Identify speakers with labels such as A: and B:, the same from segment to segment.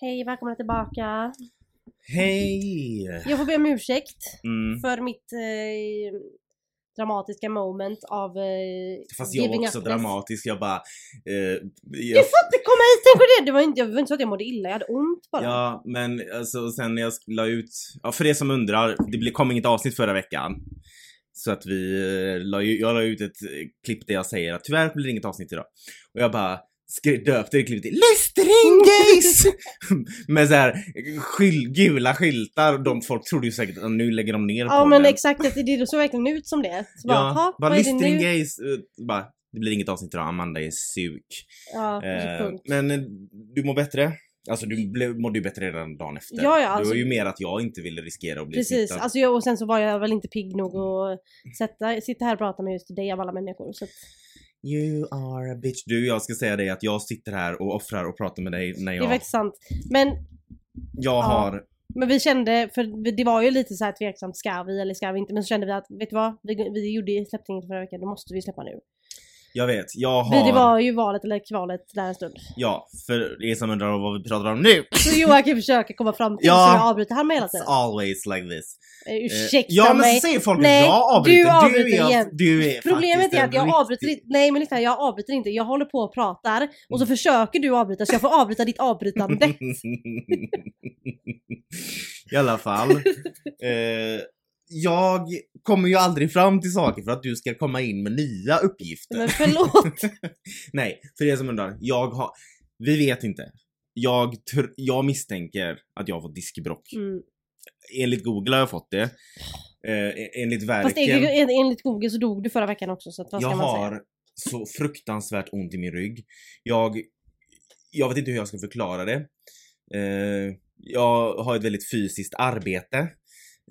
A: Hej, välkomna tillbaka.
B: Hej!
A: Jag får be om ursäkt
B: Mm.
A: för mitt eh, dramatiska moment av eh,
B: Fast jag var
A: giving
B: också
A: upness.
B: dramatisk, jag bara... Eh,
A: Du
B: jag,
A: får inte komma hit kanske det! Det var inte, jag var inte så att jag mådde illa, jag hade ont bara.
B: ja, men alltså sen när jag sk- la ut... Ja, för er som undrar, det blev- kom inget avsnitt förra veckan. Så att vi eh, la, ju- jag la ut ett eh, klipp där jag säger att tyvärr blir det inget avsnitt idag. Och jag bara skri- döpte det klippet till LISTRINGACE! Med såhär gula skyltar och de, folk trodde ju säkert att nu lägger de ner
A: Ja men
B: podden.
A: exakt, det, det såg verkligen ut som det. Så bara,
B: Ja,
A: "Ha,
B: bara
A: vad är det nu?
B: listringgays, eh, bara det blir inget avsnitt idag, Amanda är suk.
A: Ja,
B: Eh,
A: punkt.
B: men eh, du mår bättre? Alltså du blev, mådde ju bättre redan dagen efter.
A: Ja, ja,
B: Det
A: alltså-
B: var ju mer att jag inte ville riskera att Mm. bli
A: Precis,
B: smittad.
A: alltså jag, och sen så var jag väl inte pigg nog att sätta, sitta här och prata med just dig av alla människor. Så att,
B: You are a bitch. Du, jag ska säga dig att jag sitter här och offrar och pratar med dig när
A: Det är
B: jag,
A: faktiskt sant. Men,
B: jag har...
A: men vi kände, för det var ju lite så här tveksamt, ska vi eller ska vi inte? Men så kände vi att, vet du vad? Vi, vi gjorde, släppte inget förra veckan, då måste vi släppa nu.
B: Jag vet, jag
A: Vi,
B: har...
A: det var ju valet eller kvalet där en stund.
B: Ja, för er som undrar vad vi pratar om nu.
A: Så Joakim försöker komma fram till,
B: Ja.
A: så jag avbryter han med hela
B: It's
A: tiden.
B: always like this.
A: Eh,
B: Eh,
A: Alltså- Ursäkta
B: ja, men
A: mig.
B: så säger folk
A: Nej,
B: jag avbryter.
A: du avbryter
B: är,
A: igen.
B: Du är
A: Problemet
B: faktiskt
A: är att jag
B: en
A: avbryter inte, nej men lyssna jag avbryter inte, jag håller på och pratar och
B: Mm.
A: så försöker du avbryta så jag får avbryta ditt avbrytande.
B: I alla fall. Eh, jag kommer ju aldrig fram till saker för att du ska komma in med nya uppgifter.
A: Men förlåt!
B: Nej, för er som undrar. Jag har... Vi vet inte. Jag, tr- jag misstänker att jag har fått diskbråck.
A: Mm.
B: Enligt Google har jag fått det. Eh, enligt
A: Fast
B: verken.
A: en- en- enligt Google så dog du förra veckan också så att, vad ska
B: Jag
A: man säga?
B: har så fruktansvärt ont i min rygg. Jag, jag vet inte hur jag ska förklara det. Eh, jag har ett väldigt fysiskt arbete.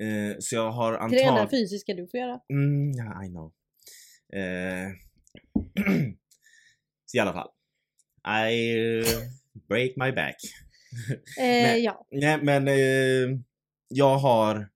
B: Eh, så jag har
A: Det är det enda
B: antagligen...
A: fysiska du får göra. Eh,
B: Mm, ja, I know. Eh, så i alla fall. I break my back.
A: Eh, ja.
B: Nej men eh, jag har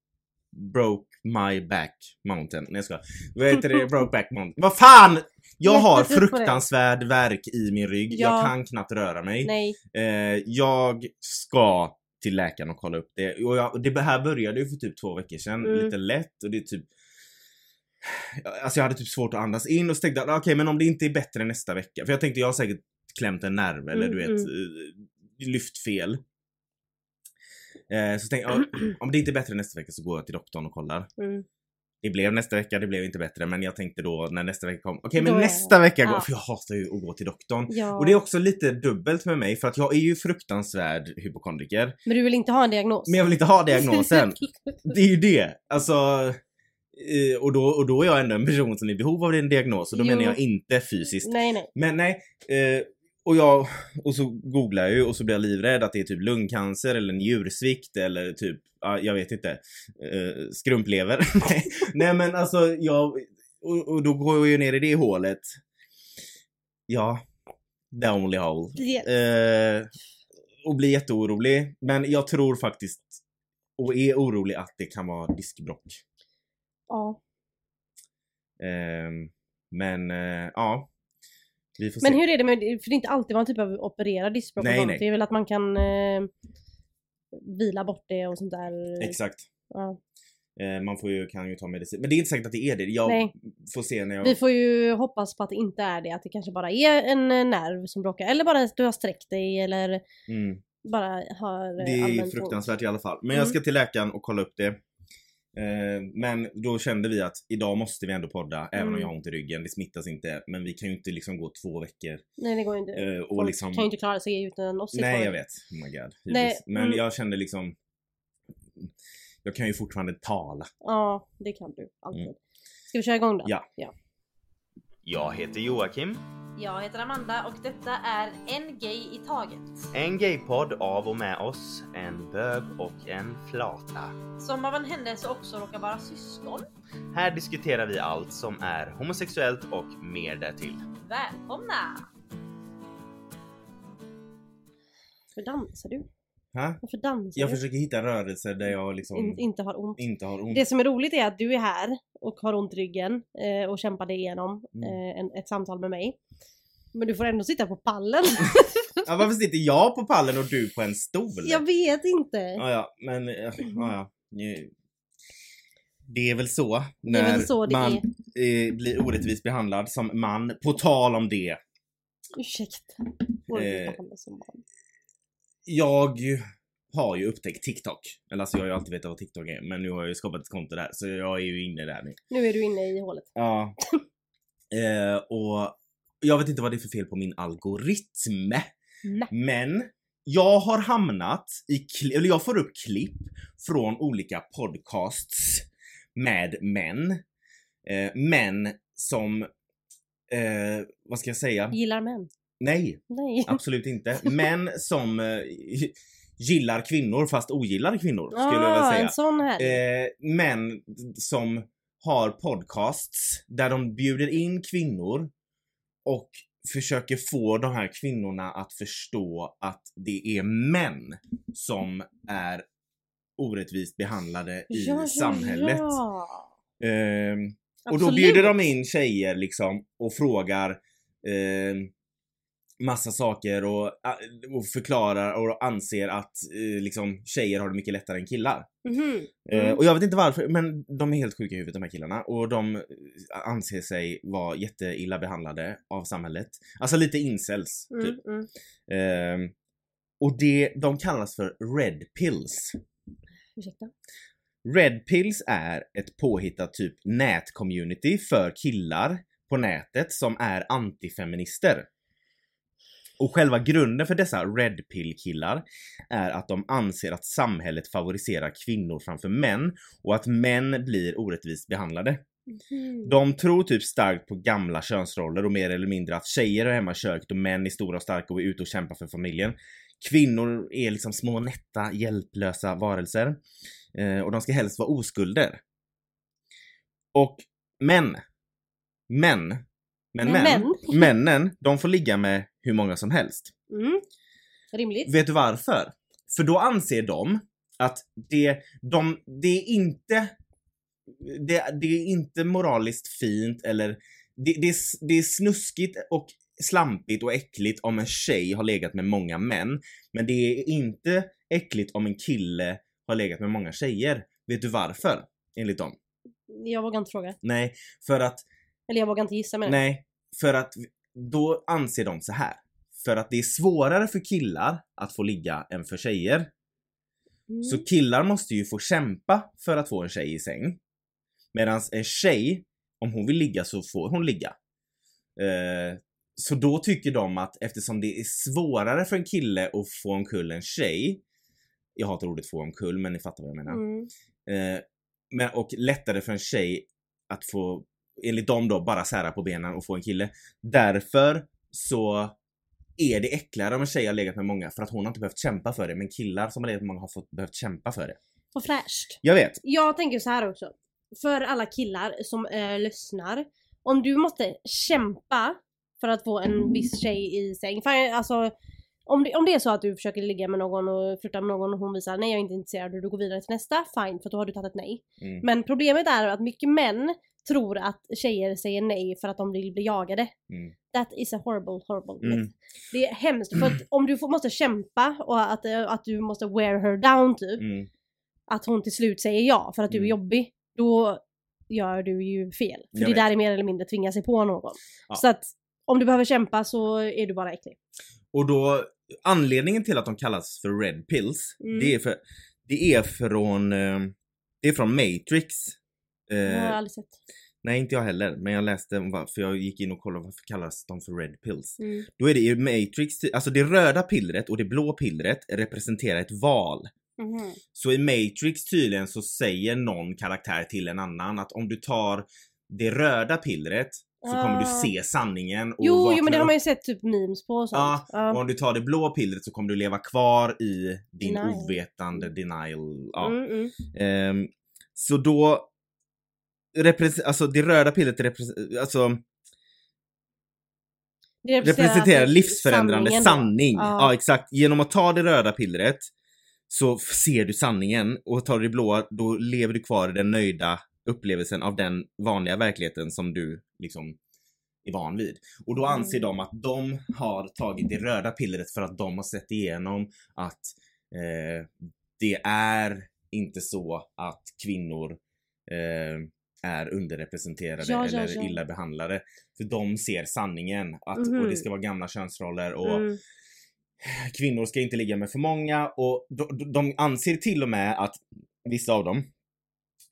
B: broke my back mountain. Nej jag skojar. Vad heter det? Broke back mountain. Vad fan! Jag har
A: Jättetrött på det.
B: fruktansvärd värk i min rygg. Jag
A: Ja.
B: kan knappt röra mig.
A: Nej.
B: Eh, jag ska till läkaren och kolla upp det. Och jag, det här började ju för typ två veckor sedan.
A: Mm.
B: Lite lätt och det är typ Alltså jag hade typ svårt att andas in och så tänkte jag, "Ah, okej men om det inte är bättre nästa vecka. För jag tänkte jag har säkert klämt en nerv eller
A: Mm,
B: du vet
A: mm.
B: eh, lyft fel. Eh, så tänkte jag, om det inte är bättre nästa vecka så går jag till doktorn och kollar.
A: Mm.
B: Det blev nästa vecka, det blev inte bättre men jag tänkte då när nästa vecka kom, okej men
A: Då är det.
B: nästa vecka går
A: Ja.
B: för jag hatar ju att gå till doktorn.
A: Ja.
B: Och det är också lite dubbelt med mig för att jag är ju fruktansvärd hypokondriker.
A: Men du vill inte ha en diagnos?
B: Men jag vill inte ha diagnosen. Det är ju det. Alltså, eh, och, då, och då är jag ändå en person som är i behov av en diagnos och då
A: Jo.
B: menar jag inte fysiskt.
A: nej nej.
B: Men nej. Eh, och, jag, och så googlar jag ju och så blir jag livrädd att det är typ lungcancer eller njursvikt eller typ, ja, jag vet inte, eh, skrumplever. Nej, nej men alltså jag, och, och då går jag ju ner i det hålet. Ja, the only hole.
A: Det,
B: Eh, och blir jätteorolig. Men jag tror faktiskt och är orolig att det kan vara diskbråck.
A: ja.
B: Ehm, men eh, ja. Vi får
A: Men
B: se.
A: hur är det med, för det är inte alltid man typ av opererar diskbråck och
B: Nej,
A: sånt.
B: nej.
A: Det är väl att man kan eh, vila bort det och sånt där.
B: Exakt.
A: Ja.
B: Eh, man får ju, kan ju ta medicin. Men det är inte säkert att det är det. Jag
A: Nej.
B: får se när jag...
A: Vi får ju hoppas på att det inte är det, att det kanske bara är en eh, nerv som bråkar. Eller bara att du har sträckt dig eller
B: Mm.
A: bara har eh,
B: Det är
A: allmänt
B: fruktansvärt i alla fall. Men
A: Mm.
B: jag ska till läkaren och kolla upp det. Eh, Men då kände vi att idag måste vi ändå podda, även om
A: Mm.
B: jag har ont i ryggen. Det smittas inte, men vi kan ju inte liksom gå två veckor
A: ont. Nej det går ju inte.
B: eh, och
A: Folk
B: liksom...
A: kan ju inte klara sig utan oss i
B: Nej
A: kvar.
B: jag vet, oh my god.
A: Nej,
B: hybris. Men
A: mm.
B: jag kände liksom Jag kan ju fortfarande tala.
A: Ja, det kan du. Alltid.
B: Mm.
A: Ska vi köra igång då?
B: Ja.
A: ja.
B: Jag heter Joakim,
A: Jag heter Amanda och detta är En Gay i Taget.
B: en gaypodd av och med oss, en bög och en flata.
A: Som av en händelse också råkar vara syskon.
B: Här diskuterar vi allt som är homosexuellt och mer därtill.
A: Välkomna! Varför dansar du?
B: Ha?
A: Varför dansar
B: Jag
A: du?
B: försöker hitta rörelser där jag liksom
A: In, inte har ont.
B: inte har ont.
A: Det som är roligt är att du är här och har ont i ryggen eh, och kämpar dig igenom
B: Mm.
A: eh, en, ett samtal med mig. Men du får ändå sitta på pallen.
B: Ja, varför sitter jag på pallen och du på en stol?
A: Jag vet inte.
B: Ja, ja, men eh, ja, ja. Nu- Det är väl så
A: det
B: när
A: är väl så det
B: man
A: är.
B: eh, blir orättvist behandlad som man. På tal om det.
A: Ursäkta. Vår
B: Eh.
A: behandling som barn.
B: Jag har ju upptäckt TikTok. Eller alltså jag har ju alltid vetat vad TikTok är men nu har jag ju skapat ett konto där så jag är ju inne där nu.
A: Nu är du inne i hålet.
B: Ja. eh, och jag vet inte vad det är för fel på min algoritm.
A: Nej.
B: Men jag har hamnat i, kli- eller jag får upp klipp från olika podcasts med män. Eh, män som, eh, vad ska jag säga?
A: Gillar män.
B: Nej,
A: Nej.
B: absolut inte. Män som eh, gillar kvinnor fast ogillar kvinnor skulle jag
A: Ah,
B: vilja säga.
A: en sån här.
B: Eh, män som har podcasts där de bjuder in kvinnor och försöker få de här kvinnorna att förstå att det är män som är orättvist behandlade i
A: ja,
B: samhället.
A: Ja.
B: Ehm, och
A: Absolut.
B: då bjuder de in tjejer liksom och frågar eh, massa saker och, eh, och förklarar och anser att eh, liksom, tjejer har det mycket lättare än killar.
A: Mhm.
B: Eh,
A: Mm.
B: Och jag vet inte varför, men de är helt sjuka i huvudet de här killarna och de eh, anser sig vara jätteilla behandlade av samhället. Alltså lite incels, typ.
A: Mm, mm.
B: Ehm, och det, de kallas för red pills.
A: Ursäkta.
B: Red pills är ett påhittat typ nätcommunity för killar på nätet som är antifeminister. Och själva grunden för dessa red pill killar är att de anser att samhället favoriserar kvinnor framför män och att män blir orättvist behandlade.
A: Mhm.
B: De tror typ starkt på gamla könsroller och mer eller mindre att tjejer är hemma i köket och män är stora och starka och är ute och kämpar för familjen. Kvinnor är liksom små nätta, hjälplösa varelser. Eh, och de ska helst vara oskulder. Och män. Män. Men män.
A: Men.
B: Männen, de får ligga med hur många som helst.
A: Mm. Rimligt.
B: Vet du varför? För då anser de att det, de, det är inte det, det är inte moraliskt fint eller det, det, är, s- det är snuskigt och slampigt och äckligt om en tjej har legat med många män. Men det är inte äckligt om en kille har legat med många tjejer. Vet du varför? Enligt dem.
A: Jag vågar inte fråga.
B: Nej, för att
A: Eller jag vågar inte gissa men
B: Nej, för att då anser de så här. För att det är svårare för killar att få ligga än för tjejer.
A: Mm.
B: Så killar måste ju få kämpa för att få en tjej i säng. Medan en tjej, om hon vill ligga så får hon ligga. Eh, så då tycker de att eftersom det är svårare för en kille att få omkull en tjej. Jag hatar ordet få omkull men ni fattar vad jag menar.
A: Mm.
B: Eh, men, och lättare för en tjej att få, enligt dem då, bara sära på benen och få en kille. Därför så är det äckligare om en tjej har legat med många för att hon har inte behövt kämpa för det men killar som har legat med många har fått, behövt kämpa för det.
A: Vad fräscht.
B: Jag vet.
A: Jag tänker så här också. För alla killar som eh, lyssnar. Om du måste kämpa för att få en viss tjej i säng. Fan, alltså, om, det, om det är så att du försöker ligga med någon och flirta med någon och hon visar nej jag är inte intresserad och du går vidare till nästa, fine för då har du tagit ett nej.
B: Mm.
A: Men problemet är att mycket män tror att tjejer säger nej för att de vill bli jagade.
B: Mm.
A: That is a horrible, horrible
B: Mm.
A: myth. Det är hemskt för att om du får, måste kämpa och att, eh, att du måste wear her down typ
B: Mm.
A: att hon till slut säger ja för att du är
B: Mm.
A: jobbig, då gör du ju fel. För
B: Jag
A: det
B: vet.
A: där är mer eller mindre tvinga sig på någon.
B: Ja.
A: Så att om du behöver kämpa så är du bara äcklig.
B: Och då, anledningen till att de kallas för red pills,
A: Mm.
B: det är för, det är från, eh, det är från Matrix.
A: Det
B: Eh,
A: har jag aldrig sett. Nej.
B: Nej inte jag heller, men jag läste om varför, jag gick in och kollade varför kallas de för red pills.
A: Mm.
B: Då är det i Matrix, alltså det röda pillret och det blå pillret representerar ett val.
A: Mhm.
B: Så i Matrix tydligen så säger någon karaktär till en annan att om du tar det röda pillret så kommer du
A: Ah.
B: se sanningen och
A: Jo,
B: vakna
A: jo men det har man
B: upp.
A: ju sett typ memes på och sånt. Ja.
B: Ah, Och om du tar det blå pillret så kommer du leva kvar i din
A: Denial.
B: ovetande denial. Ja.
A: Mm, mm.
B: Ehm, så då, repres- alltså det röda pillret repres- alltså
A: Det
B: representerar
A: alltså
B: livsförändrande
A: sanningen då.
B: sanning.
A: Ja.
B: Ja. exakt. Genom att ta det röda pillret så f- ser du sanningen och tar du det blåa då lever du kvar i den nöjda upplevelsen av den vanliga verkligheten som du liksom är van vid. Och då anser
A: Mm.
B: de att de har tagit det röda pillret för att de har sett igenom att eh, det är inte så att kvinnor eh, är underrepresenterade
A: Ja, ja,
B: eller
A: ja.
B: illa behandlade. För de ser sanningen att
A: Mhm.
B: och det ska vara gamla könsroller och
A: Mm.
B: kvinnor ska inte ligga med för många och de, de anser till och med att vissa av dem,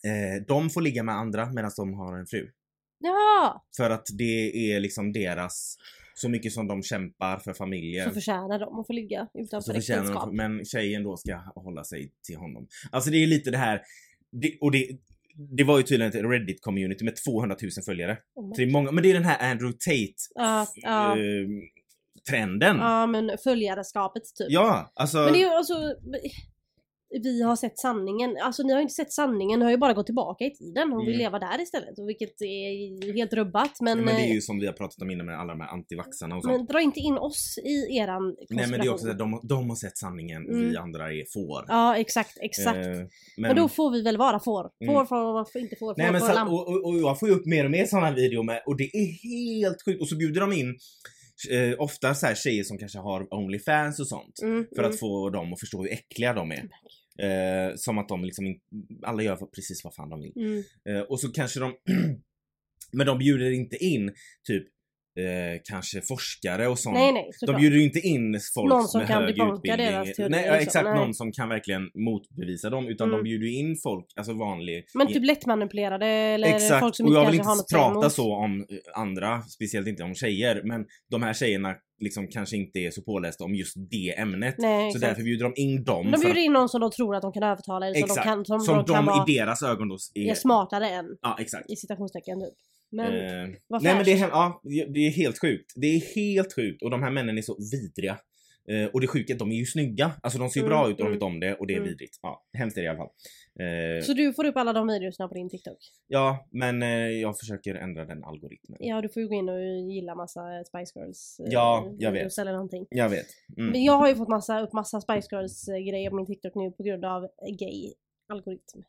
B: eh, de får ligga med andra medan de har en fru.
A: Ja!
B: För att det är liksom deras, så mycket som de kämpar för familjen.
A: Så förtjänar de att få ligga
B: så
A: utanför
B: förtjänar
A: äktenskap.
B: de, men tjejen då ska hålla sig till honom. Alltså det är lite det här, det, och det, det var ju tydligen ett Reddit-community med 200 000 följare.
A: Oh my-
B: Så det är många, men det är den här Andrew Tate
A: Ja, ja.
B: eh, trenden. Ja.
A: Ja men följarskapet typ.
B: alltså.
A: Men det är ju alltså... Vi har sett sanningen. Alltså ni har ju inte sett sanningen, ni har ju bara gått tillbaka i tiden. Hon vill
B: Mm.
A: leva där istället. och Vilket är helt rubbat men...
B: Men, men det är
A: eh,
B: ju som vi har pratat om innan med alla de här antivaxarna och sånt.
A: Men dra inte in oss i eran
B: Nej men det är också
A: konspiration.
B: att de, de har sett sanningen och vi
A: Mm.
B: andra är får.
A: Ja exakt, exakt.
B: Eh, men,
A: men... då får vi väl vara får. Får,
B: Mm.
A: får, får, får, inte får, får,
B: Nej men
A: får,
B: så,
A: lamm.
B: och, och, och jag får ju upp mer och mer sådana videor med och det är helt sjukt. Och så bjuder de in eh, ofta så här tjejer som kanske har Onlyfans och sånt.
A: Mm,
B: För
A: mm.
B: att få dem att förstå hur äckliga de är. Eh, som att de liksom in, alla gör precis vad fan de vill.
A: Mm.
B: Eh, och så kanske de, men de bjuder inte in typ eh, kanske forskare och sånt.
A: Nej nej, såklart.
B: De bjuder ju inte in folk
A: Någon som
B: med
A: kan
B: hög
A: debunka
B: utbildning.
A: deras teorier
B: Nej,
A: och
B: ja,
A: så.
B: exakt.
A: Nej.
B: Någon som kan verkligen motbevisa dem. Utan
A: Mm.
B: de bjuder ju in folk, alltså vanlig...
A: Men typ lättmanipulerade eller
B: exakt.
A: folk som
B: och
A: inte
B: jag vill
A: kanske
B: inte
A: har något att säga
B: prata
A: emot.
B: så om eh, andra, speciellt inte om tjejer. Men de här tjejerna liksom kanske inte är så pålästa om just det ämnet.
A: Nej,
B: Typ. så
A: exakt.
B: därför bjuder de in dem.
A: De
B: för
A: bjuder in någon som de tror att de kan övertala eller som de
B: Exakt.
A: kan, som
B: att, som
A: de kan
B: de
A: vara
B: i deras ögon då är...
A: är smartare än.
B: Ja, exakt.
A: I citationstecken typ. Men
B: Eh,
A: vad
B: Nej men det är,
A: fräscht.
B: hem- ja, det är helt sjukt. Det är helt sjukt och de här männen är så vidriga. Eh, och det sjuka är att de är ju snygga. Alltså de ser ju
A: Mm,
B: bra ut och de
A: mm,
B: vet om det och det är
A: mm.
B: vidrigt. Ja, hemskt är det i alla fall. Eh,
A: Så du får upp alla de videorna på din TikTok?
B: ja, men eh, jag försöker ändra den algoritmen.
A: Ja, du får ju gå in och gilla massa Spice Girls eh,
B: Ja, jag vet.
A: videos eller någonting.
B: Jag vet. Mm.
A: Men jag har ju fått massa, upp massa Spice Girls eh, grejer på min TikTok nu på grund av eh, gay algoritm.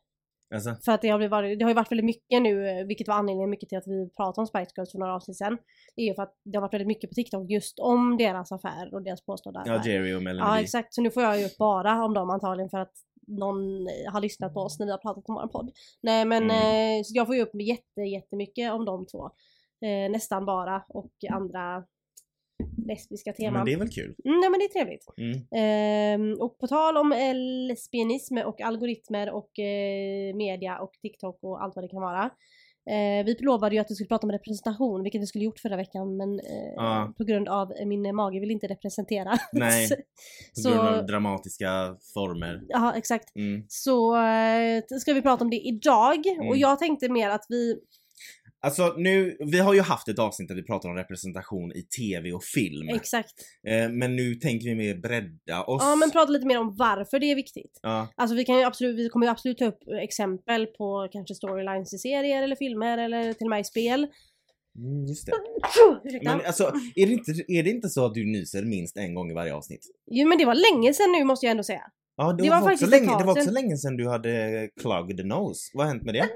B: Alltså,
A: För att det har, blivit, varit- det har ju varit väldigt mycket nu, eh, vilket var anledningen mycket till att vi pratade om Spice Girls för några avsnitt sen. Det är ju för att det har varit väldigt mycket på TikTok just om deras affär och deras påstådda affär.
B: ja, Jerry och Melanie.
A: Ja exakt, så nu får jag ju upp bara om dem antagligen för att någon eh, har lyssnat på oss när vi har pratat om vår podd. Nej men
B: Mm.
A: eh, så jag får ju upp jätte, jättemycket om de två. Eh, nästan bara och andra lesbiska
B: Ja,
A: teman.
B: men det är väl kul?
A: mm, nej men det är trevligt.
B: Mm.
A: Ehm, och på tal om eh, lesbianism och algoritmer och eh, media och TikTok och allt vad det kan vara. Eh, vi lovade ju att vi skulle prata om representation, vilket vi skulle gjort förra veckan men eh,
B: Ja.
A: på grund av eh, min mage vill inte representera.
B: Nej. På
A: Så-
B: grund av dramatiska former.
A: Ja, exakt.
B: Mm.
A: Så eh, ska vi prata om det idag och
B: Mm.
A: jag tänkte mer att vi...
B: Alltså nu, vi har ju haft ett avsnitt där vi pratar om representation i TV och film.
A: Exakt.
B: Eh, men nu tänker vi mer bredda oss.
A: Ja, men prata lite mer om varför det är viktigt.
B: ja.
A: Alltså vi, kan ju absolut, vi kommer ju absolut ta upp exempel på kanske storylines i serier eller filmer eller till och med i spel.
B: Mm, just det.
A: Ursäkta.
B: Men alltså, är det, inte, är det inte så att du nyser minst en gång i varje avsnitt?
A: Jo men det var länge sedan nu måste jag ändå säga.
B: Ja, det,
A: Det
B: var,
A: var
B: också
A: faktiskt ett
B: länge, det
A: tag
B: var också
A: sedan.
B: länge sedan du hade clogged nose. Vad har hänt med det?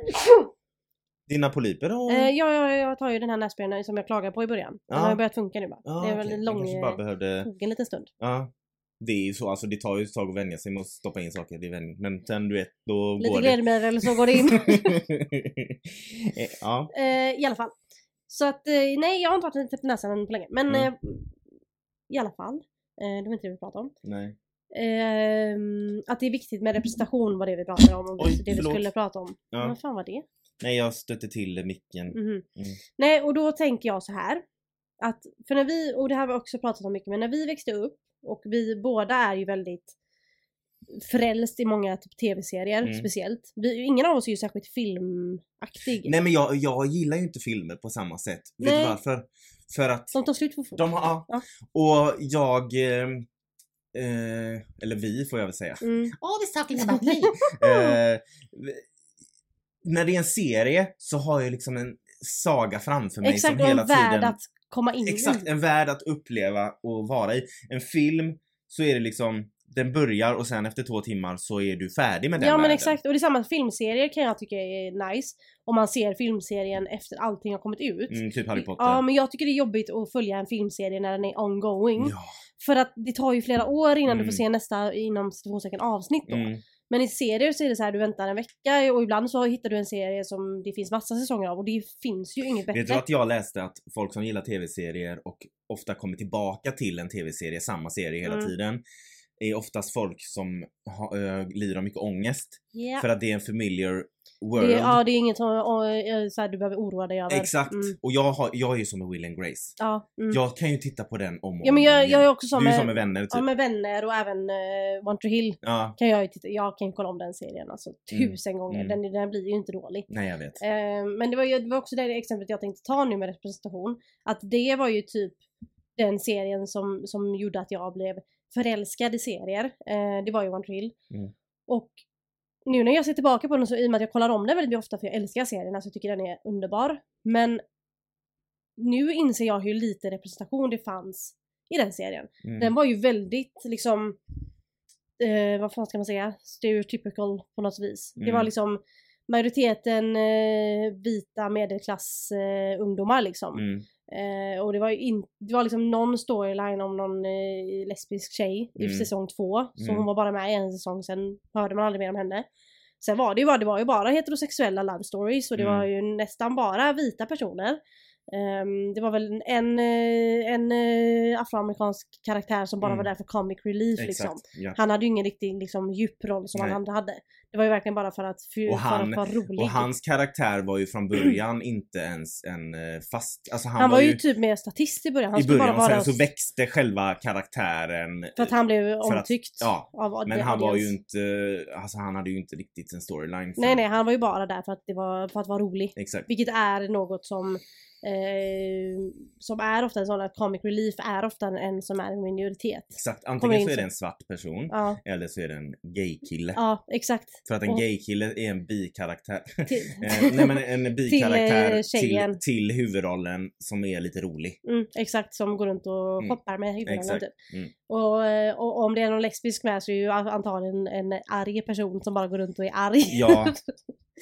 B: Dina polyper och...
A: Eh, jag, jag, jag tar ju den här nässprayen som jag klagade på i början.
B: Mm. Ja.
A: Den har ju börjat funka nu bara.
B: Ja,
A: det är väl
B: okej.
A: en
B: Du
A: lång...
B: kanske bara behövde...
A: tog en liten stund.
B: Ja. Det är ju så, alltså det tar ju ett tag att vänja sig med att stoppa in saker. Det är vän... Men sen du vet, då
A: Lite
B: går det.
A: glädjemedel eller så går det in.
B: Eh, ja.
A: Eh, I alla fall. Så att eh, nej, jag har inte varit täppt i näsan på länge. Men
B: Mm.
A: eh, i alla fall. Eh, det var inte det vi pratade om.
B: Nej.
A: Ehm, att det är viktigt med representation var det vi pratade om. Och
B: Oj,
A: det vi
B: förlåt.
A: skulle prata om.
B: Ja.
A: Vad fan var det?
B: Nej, jag stötte till micken.
A: Mhm.
B: Mm.
A: Nej, och då tänker jag så här. Att, för när vi, och det här har vi också pratat om mycket, men när vi växte upp och vi båda är ju väldigt frälst i många typ, tv-serier
B: Mm.
A: speciellt. Vi, ingen av oss är ju särskilt filmaktig.
B: Nej men jag, jag gillar ju inte filmer på samma sätt. Vet
A: Nej.
B: du varför? För att
A: De tar slut för fort.
B: De har, ja.
A: Ja.
B: Och jag, eh, eh, eller vi får jag väl säga.
A: Mm.
B: Oh, vi talking about me! eh, när det är en serie så har jag liksom en saga framför mig
A: Exakt,
B: som
A: och en
B: hela
A: värld
B: tiden...
A: att komma in i.
B: Exakt, en värld att uppleva och vara i. En film så är det liksom den börjar och sen efter två timmar så är du färdig med den
A: Ja men
B: världen.
A: exakt, och det är samma filmserier kan jag tycka är nice. Om man ser filmserien efter allting har kommit ut.
B: Mm, typ Harry Potter.
A: Ja men jag tycker det är jobbigt att följa en filmserie när den är ongoing.
B: Ja,
A: För att det tar ju flera år innan du
B: Mm.
A: får se nästa inom situationstecken avsnitt då.
B: mm,
A: Men i serier så är det så här, du väntar en vecka och ibland så hittar du en serie som det finns massa säsonger av och det finns ju inget
B: Vet du
A: bättre.
B: att jag läste att folk som gillar tv-serier och ofta kommer tillbaka till en tv-serie, samma serie hela
A: Mm.
B: tiden, är oftast folk som ha, eh, lider av mycket ångest.
A: Ja.
B: För att det är en familiar world.
A: Det, ja, det är inget som och, eh, så här, du behöver oroa dig över.
B: Exakt.
A: Mm.
B: Och jag, har, jag är ju som med Will and Grace.
A: Ja, mm.
B: Jag kan ju titta på den om och
A: ja men jag,
B: om
A: jag är
B: igen.
A: också som
B: Du är
A: med,
B: som med vänner typ.
A: ja, med vänner och även uh, One Tree Hill.
B: Ja,
A: Kan jag, ju titta, jag kan ju kolla om den serien alltså
B: Mm.
A: tusen gånger.
B: Mm.
A: Den, den blir ju inte dålig.
B: nej jag vet.
A: Eh, men det var, ju, det var också det exemplet jag tänkte ta nu med representation. Att det var ju typ den serien som, som gjorde att jag blev förälskad i serier. Eh, det var ju One Tree Hill.
B: Mm.
A: Och nu när jag ser tillbaka på den så i och med att jag kollar om den väldigt ofta för jag älskar serien, alltså jag tycker den är underbar. Men nu inser jag hur lite representation det fanns i den serien.
B: Mm.
A: Eh, Den var ju väldigt liksom, eh, vad fan ska man säga, stereotypical på något vis. Det
B: Mm.
A: var liksom majoriteten eh, vita medelklass eh, ungdomar liksom.
B: Mm.
A: Eh, och det var ju in, det var liksom någon storyline om någon eh, lesbisk tjej i
B: Mm.
A: säsong två. Så
B: Mm.
A: hon var bara med i en säsong, sen hörde man aldrig mer om henne. Sen var det ju bara, det var ju bara heterosexuella love stories och det
B: Mm.
A: var ju nästan bara vita personer. Ehm, det var väl en, eh, en eh, afroamerikansk karaktär som bara
B: Mm.
A: var där för comic relief liksom.
B: Exakt. Ja.
A: Han hade ju ingen riktig liksom, djuproll som
B: Nej.
A: han andra hade. Det var ju verkligen bara för att, för,
B: Och han-
A: för att vara rolig.
B: Och hans karaktär var ju från början inte ens en eh, fast... Alltså han,
A: han, var ju typ mer statist i början. Han
B: i
A: skulle
B: början
A: bara
B: och
A: vara
B: sen så växte själva karaktären.
A: För att han blev
B: att-
A: omtyckt
B: ja,
A: av
B: men
A: det-
B: han var ju
A: audience.
B: inte... Alltså han hade ju inte riktigt en storyline. för-
A: Nej nej, han var ju bara där för att, det var, för att vara rolig.
B: Exakt.
A: Vilket är något som eh, som är ofta en sån att comic relief är ofta en som är en minoritet.
B: Exakt.
A: Kommer
B: Antingen
A: in
B: så är
A: så-
B: det en svart person
A: Ja,
B: eller så är det en gay-kille.
A: ja exakt.
B: För att en
A: Och-
B: gay-kille är en bikaraktär.
A: Till-
B: Eh, nej men en bikaraktär
A: eh,
B: till,
A: tjejen.
B: till huvudrollen som är lite rolig.
A: Mm, exakt, som går runt och
B: Mm.
A: shoppar med huvudrollen
B: Exakt.
A: typ.
B: Mm.
A: Och, eh, och om det är någon lesbisk med så är ju antagligen en arg person som bara går runt och är arg.
B: Ja.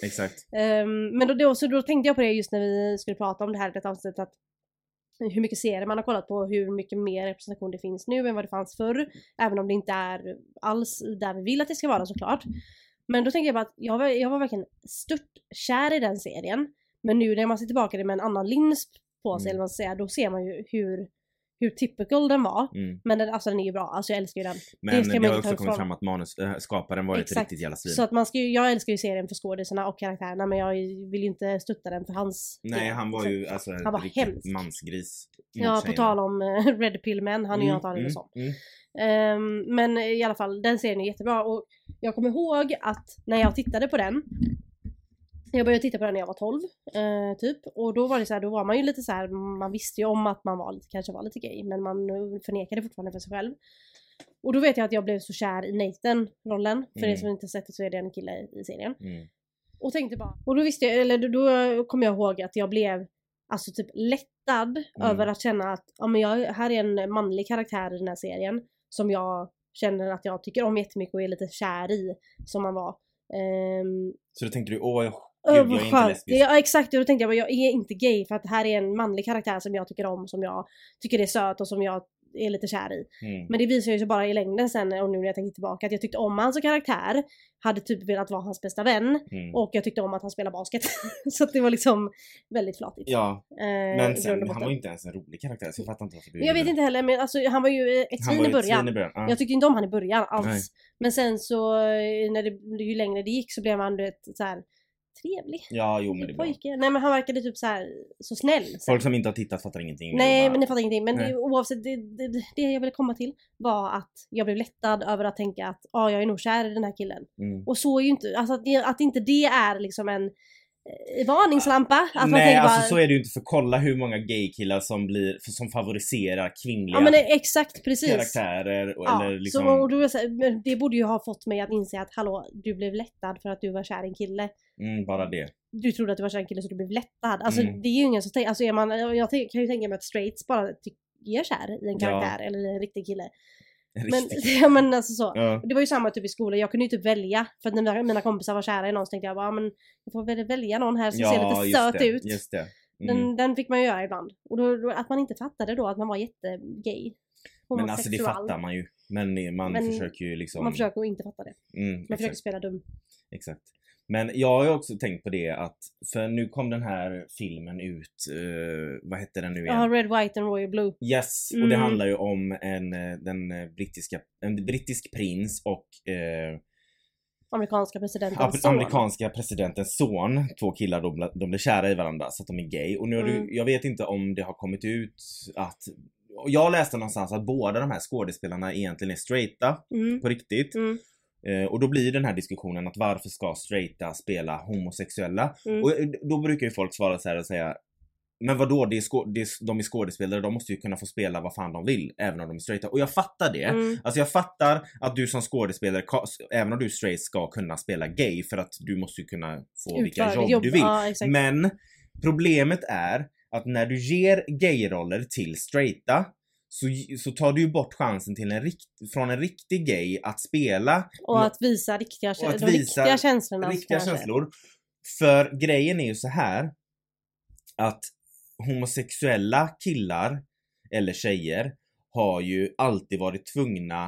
B: Exakt.
A: Ehm, men då, då, så då tänkte jag på det just när vi skulle prata om det här i detta avsnittet att hur mycket serier man har kollat på, hur mycket mer representation det finns nu än vad det fanns förr. Även om det inte är alls där vi vill att det ska vara såklart. Men då tänker jag bara att jag var, jag var verkligen stört kär i den serien. Men nu när man ser tillbaka det med en annan lins på sig,
B: Mm.
A: eller vad man ska säga, då ser man ju hur, hur typical den var.
B: Mm.
A: Men den, alltså den är ju bra, alltså jag älskar ju den.
B: Men
A: ska
B: det,
A: man
B: har
A: inte
B: också
A: ta
B: kommit
A: ifrån.
B: fram att manus, äh, skaparen var ju ett
A: Exakt.
B: riktigt jävla svin.
A: Så att man ska ju, jag älskar ju serien för skådisarna och karaktärerna men jag vill ju inte stötta den för hans
B: Nej
A: del.
B: han var
A: Så-
B: ju alltså en
A: han var
B: riktig
A: hemsk.
B: mansgris. mot
A: Ja, på
B: tjejerna.
A: tal om eh, Red Pill Man, han är ju
B: Mm,
A: antagligen
B: mm,
A: sån.
B: mm.
A: Ehm, men i alla fall, den serien är jättebra och jag kommer ihåg att när jag tittade på den jag började titta på den när jag var 12, eh, typ. Och då var det så här, då var man ju lite så här, man visste ju om att man var lite, kanske var lite gay, men man eh, förnekade fortfarande för sig själv. Och då vet jag att jag blev så kär i Nathan-rollen, för
B: Mm.
A: er som inte sett det så är det en kille i serien.
B: Mm.
A: Och tänkte bara, och då visste jag, eller då, då kommer jag ihåg att jag blev alltså typ lättad
B: Mm.
A: över att känna att ja, men jag, här är en manlig karaktär i den här serien som jag känner att jag tycker om jättemycket och är lite kär i som man var. Ehm,
B: Så då tänkte du åh jag,
A: Åh,
B: gud,
A: vad
B: jag är inte
A: skönt.
B: lesbisk.
A: Ja exakt, och då tänkte jag bara, jag är inte gay för att här är en manlig karaktär som jag tycker om, som jag tycker är söt och som jag är lite kär i.
B: Mm.
A: Men det visar ju sig bara i längden sen och nu när jag tänker tillbaka att jag tyckte om hans karaktär, hade typ velat vara hans bästa vän
B: Mm.
A: och jag tyckte om att han spelar basket. så att det var liksom väldigt flatigt.
B: Ja,
A: eh,
B: men
A: i grund och
B: sen, han
A: botten.
B: var ju inte ens en rolig karaktär så jag fattar inte varför du
A: Men Jag vet inte heller, men alltså, han var ju eh, ett
B: han
A: svin
B: var
A: i
B: ju ett svin i
A: början.
B: början. Ja.
A: Jag tyckte inte om han i början alls.
B: Nej.
A: Men sen så, eh, när det, ju längre det gick så blev han du vet så här trevlig.
B: ja, jo men det är bra.
A: Pojke. Nej men han verkade typ så här så snäll. sen.
B: Folk som inte har tittat fattar ingenting.
A: Nej
B: bara-
A: men ni fattar ingenting. Men
B: Nej.
A: det, oavsett, det, det, det jag ville komma till var att jag blev lättad över att tänka att ah, jag är nog kär i den här killen.
B: Mm.
A: Och så är ju inte, alltså att, det, att inte det är liksom en eh, varningslampa. Att man
B: Nej
A: tänker bara,
B: alltså så är det ju inte för kolla hur många gaykillar som blir, som favoriserar kvinnliga
A: ja men eh, exakt precis.
B: karaktärer och,
A: Ja,
B: eller liksom...
A: så, och då, är det så här, men det borde ju ha fått mig att inse att hallå, du blev lättad för att du var kär i en kille.
B: mm, bara det.
A: Du trodde att du var kär i en kille så du blev lättad. Alltså
B: Mm.
A: det är ju ingen som tänker, alltså är man, jag tänk- kan ju tänka mig att straights bara tycker jag är kär i en
B: Ja.
A: karaktär eller i en riktig kille. Men,
B: Riktigt.
A: ja, men alltså så.
B: Ja.
A: Och Det var ju samma typ i skolan, jag kunde ju typ välja. För att när mina- mina kompisar var kära i någon så tänkte jag bara, "Ja, men jag får väl välja någon här som ser lite
B: just
A: söt
B: det,
A: ut.
B: Just det. Mm.
A: Den, den fick man ju göra ibland. Och då, då, att man inte fattade då att man var jättegay.
B: Men alltså det
A: homosexual.
B: fattar man ju. Men man
A: Men
B: försöker ju liksom...
A: Man försöker att inte fatta det.
B: Mm,
A: Man
B: exakt.
A: försöker spela dum.
B: Exakt. Men jag har ju också tänkt på det att, för nu kom den här filmen ut, eh, vad hette den nu igen?
A: Ja, red, white and royal blue.
B: Yes, och det
A: Mm.
B: handlar ju om en, eh, den eh, brittiska, en brittisk prins och eh,
A: Amerikanska presidentens
B: Amer-
A: son.
B: amerikanska presidentens son, två killar, de, bla- de blir kära i varandra så att de är gay. Och nu har
A: Mm.
B: du, jag vet inte om det har kommit ut att... och Jag läste någonstans att båda de här skådespelarna egentligen är straighta
A: Mm.
B: på riktigt.
A: Mm.
B: Eh, och då blir den här diskussionen att varför ska straighta spela homosexuella?
A: Mm.
B: Och eh, då brukar ju folk svara så här och säga men vadå, det är skå- det är, s- de är skådespelare, de måste ju kunna få spela vad fan de vill även om de är straighta. Och jag fattar det.
A: Mm.
B: Alltså jag fattar att du som skådespelare, ka- s- även om du är straight, ska kunna spela gay för att du måste ju kunna få vilka
A: Utför ditt
B: jobb, du vill.
A: Ja, exakt.
B: Men problemet är att när du ger gayroller till straighta så, så tar du ju bort chansen till en rikt, från en riktig gay att spela
A: och att visa riktiga,
B: Och att
A: de
B: visa
A: riktiga känslorna.
B: riktiga
A: kanske.
B: känslor. För grejen är ju så här att homosexuella killar eller tjejer har ju alltid varit tvungna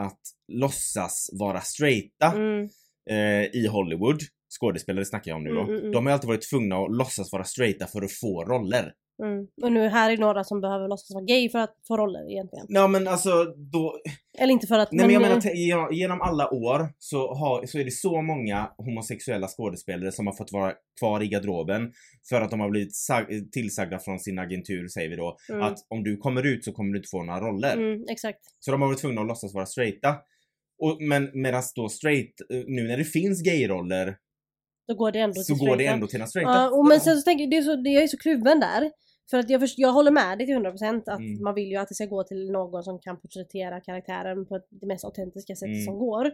B: att låtsas vara straighta
A: Mm.
B: eh, i Hollywood. Skådespelare snackar jag om nu då.
A: Mm, mm, mm.
B: De har alltid varit tvungna att låtsas vara straighta för att få roller.
A: Mm. Och nu här är några som behöver låtsas vara gay för att få roller egentligen.
B: Ja men alltså då,
A: Eller inte för att...
B: Nej men jag
A: eh,
B: menar te- genom- genom alla år så, har, så är det så många homosexuella skådespelare som har fått vara kvar i garderoben för att de har blivit sag- tillsagda från sin agentur säger vi då
A: mm.
B: att om du kommer ut så kommer du inte få några roller.
A: Mm, exakt.
B: Så de har varit tvungna att låtsas vara straighta. Och, men medan då straight, eh, nu när det finns gayroller
A: Då går det ändå
B: så
A: till
B: går det
A: straighta.
B: ändå till den straighta.
A: Ja, och men sen så tänker jag, det är så, det, jag är så kluven där. För att jag, först, jag håller med dig till 100% att
B: Mm.
A: man vill ju att det ska gå till någon som kan porträttera karaktären på ett- det mest autentiska sättet
B: Mm.
A: som går.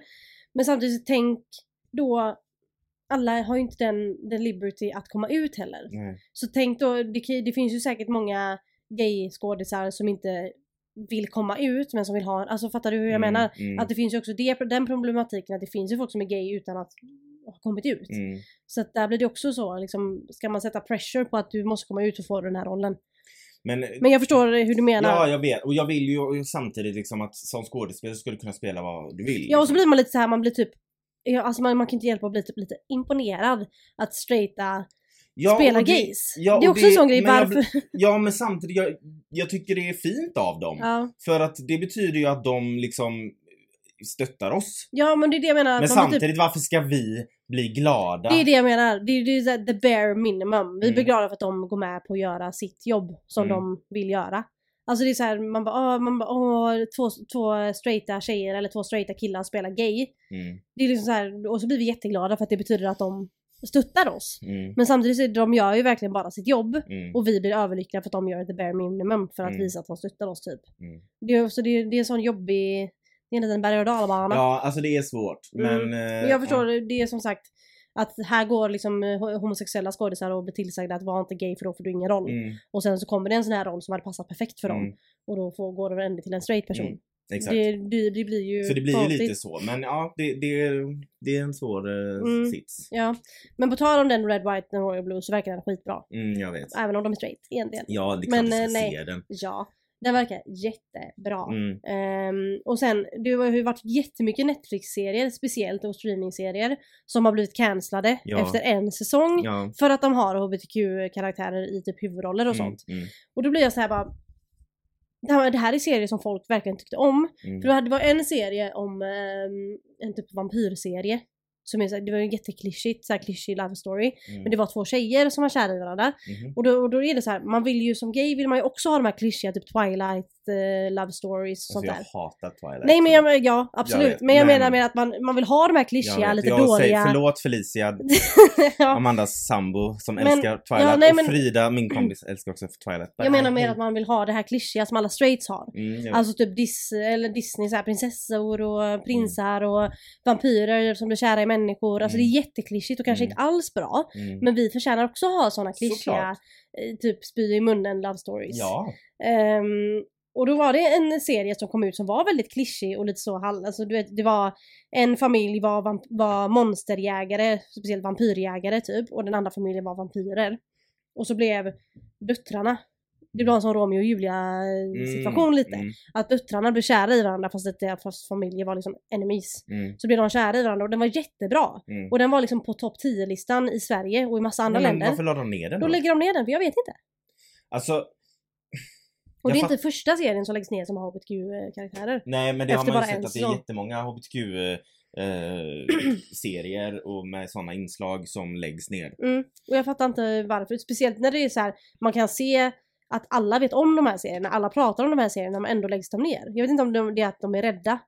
A: Men samtidigt, tänk då, alla har ju inte den, den liberty att komma ut heller.
B: Nej.
A: Så tänk då, det, kan- det finns ju säkert många gay-skådisar som inte vill komma ut men som vill ha, alltså fattar du hur jag
B: Mm,
A: menar?
B: mm,
A: Att det finns ju också det, den problematiken att det finns ju folk som är gay utan att ha kommit ut.
B: mm.
A: Så att där blir det också så, liksom, ska man sätta pressure på att du måste komma ut och få den här rollen?
B: Men, eh,
A: Men jag förstår hur du menar.
B: Mm. ja
A: Ja,
B: jag vet. Och jag vill ju och samtidigt liksom att som skådespelare ska du kunna spela vad du vill.
A: och så blir man lite så här, man blir typ Ja, alltså man, man kan inte hjälpa att bli typ lite imponerad att straighta
B: Ja, och
A: spelar
B: det-
A: gays.
B: ja,
A: det är
B: och
A: också en sån grej,
B: men jag
A: varför?
B: Ja men samtidigt, jag, jag tycker det är fint av dem.
A: Ja.
B: För att det betyder ju att de liksom stöttar oss.
A: ja men det är det jag menar. att man
B: Men
A: blir typ-
B: samtidigt, varför ska vi bli glada?
A: Det är det jag menar. Det är, det är så här the bare minimum. Vi
B: Mm.
A: blir glada för att de går med på att göra sitt jobb som
B: Mm.
A: de vill göra. Alltså det är så här, man bara, åh, man bara åh, två, två straighta tjejer eller två straighta killar spelar gay.
B: Mm,
A: Det är liksom så här, och så blir vi jätteglada för att det betyder att de stöttar oss.
B: mm,
A: Men samtidigt så är- de gör ju verkligen bara sitt jobb
B: mm.
A: och vi blir överlyckliga för att de gör the bare minimum för att
B: Mm.
A: visa att de stöttar oss typ.
B: Mm.
A: Det är, så det är, det är en sån jobbig, det är en liten berg och dalbana.
B: Ja, alltså det är svårt. Men...
A: Mm.
B: eh,
A: Men jag förstår,
B: ja.
A: det är som sagt att här går liksom eh, homosexuella skådisar och blir tillsagda att vara inte gay för då får du ingen roll.
B: Mm,
A: Och sen så kommer det en sån här roll som hade passat perfekt för dem
B: mm,
A: och då får, går det ändå till en straight person.
B: Mm, exakt.
A: det, det, det blir ju
B: Så det blir ju
A: konstigt.
B: lite så. Men ja, det, det, är- det är en svår eh,
A: Mm.
B: sits.
A: Ja. Men på tal om den Red, White and Royal Blue så verkar den skitbra.
B: Mm, jag vet.
A: Även om de är straight egentligen.
B: Ja, det är klart
A: Men,
B: du ska
A: eh, nej.
B: se den.
A: Ja. Den verkar jättebra.
B: Mm,
A: Ehm, och sen, det har ju varit jättemycket Netflix-serier, speciellt och streaming-serier, som har blivit cancellade
B: Ja.
A: efter en säsong.
B: ja.
A: För att de har HBTQ-karaktärer i typ huvudroller och sånt.
B: Mm,
A: Och då blir jag så här bara... Det här, det här är serier som folk verkligen tyckte om.
B: mm,
A: För det hade- det var en serie om ehm, en typ vampyrserie. Som är så här, det var ju jätteklyschigt, såhär klyschig love story.
B: mm,
A: Men det var två tjejer som var kära i varandra.
B: mm,
A: Och då, och då är det så här, man vill ju som gay vill man ju också ha de här klyschiga typ twilight eh, love stories och
B: Alltså
A: sånt
B: jag
A: där.
B: hatar Twilight.
A: Nej men jag, ja absolut.
B: vet,
A: men jag
B: men-
A: menar med att man, man vill ha de här
B: Jag
A: klyschiga,
B: vet,
A: lite
B: jag
A: dåliga.
B: Säger, förlåt Felicia,
A: ja.
B: Amandas sambo som
A: Men-
B: älskar Twilight
A: ja, nej,
B: och
A: men-
B: Frida, min kompis, älskar också Twilight.
A: Jag menar mer att man vill ha det här klyschiga som alla straights har.
B: Mm, jag,
A: Alltså typ Dis, eller Disney, så här, prinsessor
B: Mm.
A: och prinsar och vampyrer som blir kära i människor. Alltså
B: Mm.
A: det är jätteklyschigt och kanske
B: Mm.
A: inte alls bra.
B: mm.
A: Men vi förtjänar också att ha såna klyschiga,
B: Såklart.
A: eh, typ spy i munnen love stories.
B: Ja.
A: Ehm, Och då var det en serie som kom ut som var väldigt klyschig och lite så hall, alltså du vet, det var en familj var, vamp- var monsterjägare, speciellt vampyrjägare typ, och den andra familjen var vampyrer. Och så blev döttrarna, det var en sån Romeo och Julia eh, situation
B: Mm,
A: lite,
B: Mm,
A: att döttrarna blev kära i varandra fast, inte, fast familjer var liksom enemies.
B: mm,
A: Så blev de kära i varandra och den var jättebra.
B: mm.
A: Och den var liksom på topp 10-listan i Sverige och i massa andra
B: Nej, men
A: länder.
B: Varför la de ner den
A: Då
B: då?
A: lägger de ner den, för jag vet inte.
B: Alltså,
A: Och
B: Jag
A: det är inte första serien som läggs ner som har HBTQ-karaktärer.
B: nej men det
A: Efter
B: har man
A: bara en
B: ju sett att det är
A: säsong.
B: jättemånga HBTQ-serier eh, och med sådana inslag som läggs ner.
A: Mm. Och jag fattar inte varför. Speciellt när det är så här, man kan se att alla vet om de här serierna, alla pratar om de här serierna men ändå läggs de ner. Jag vet inte om de- det är att de är rädda.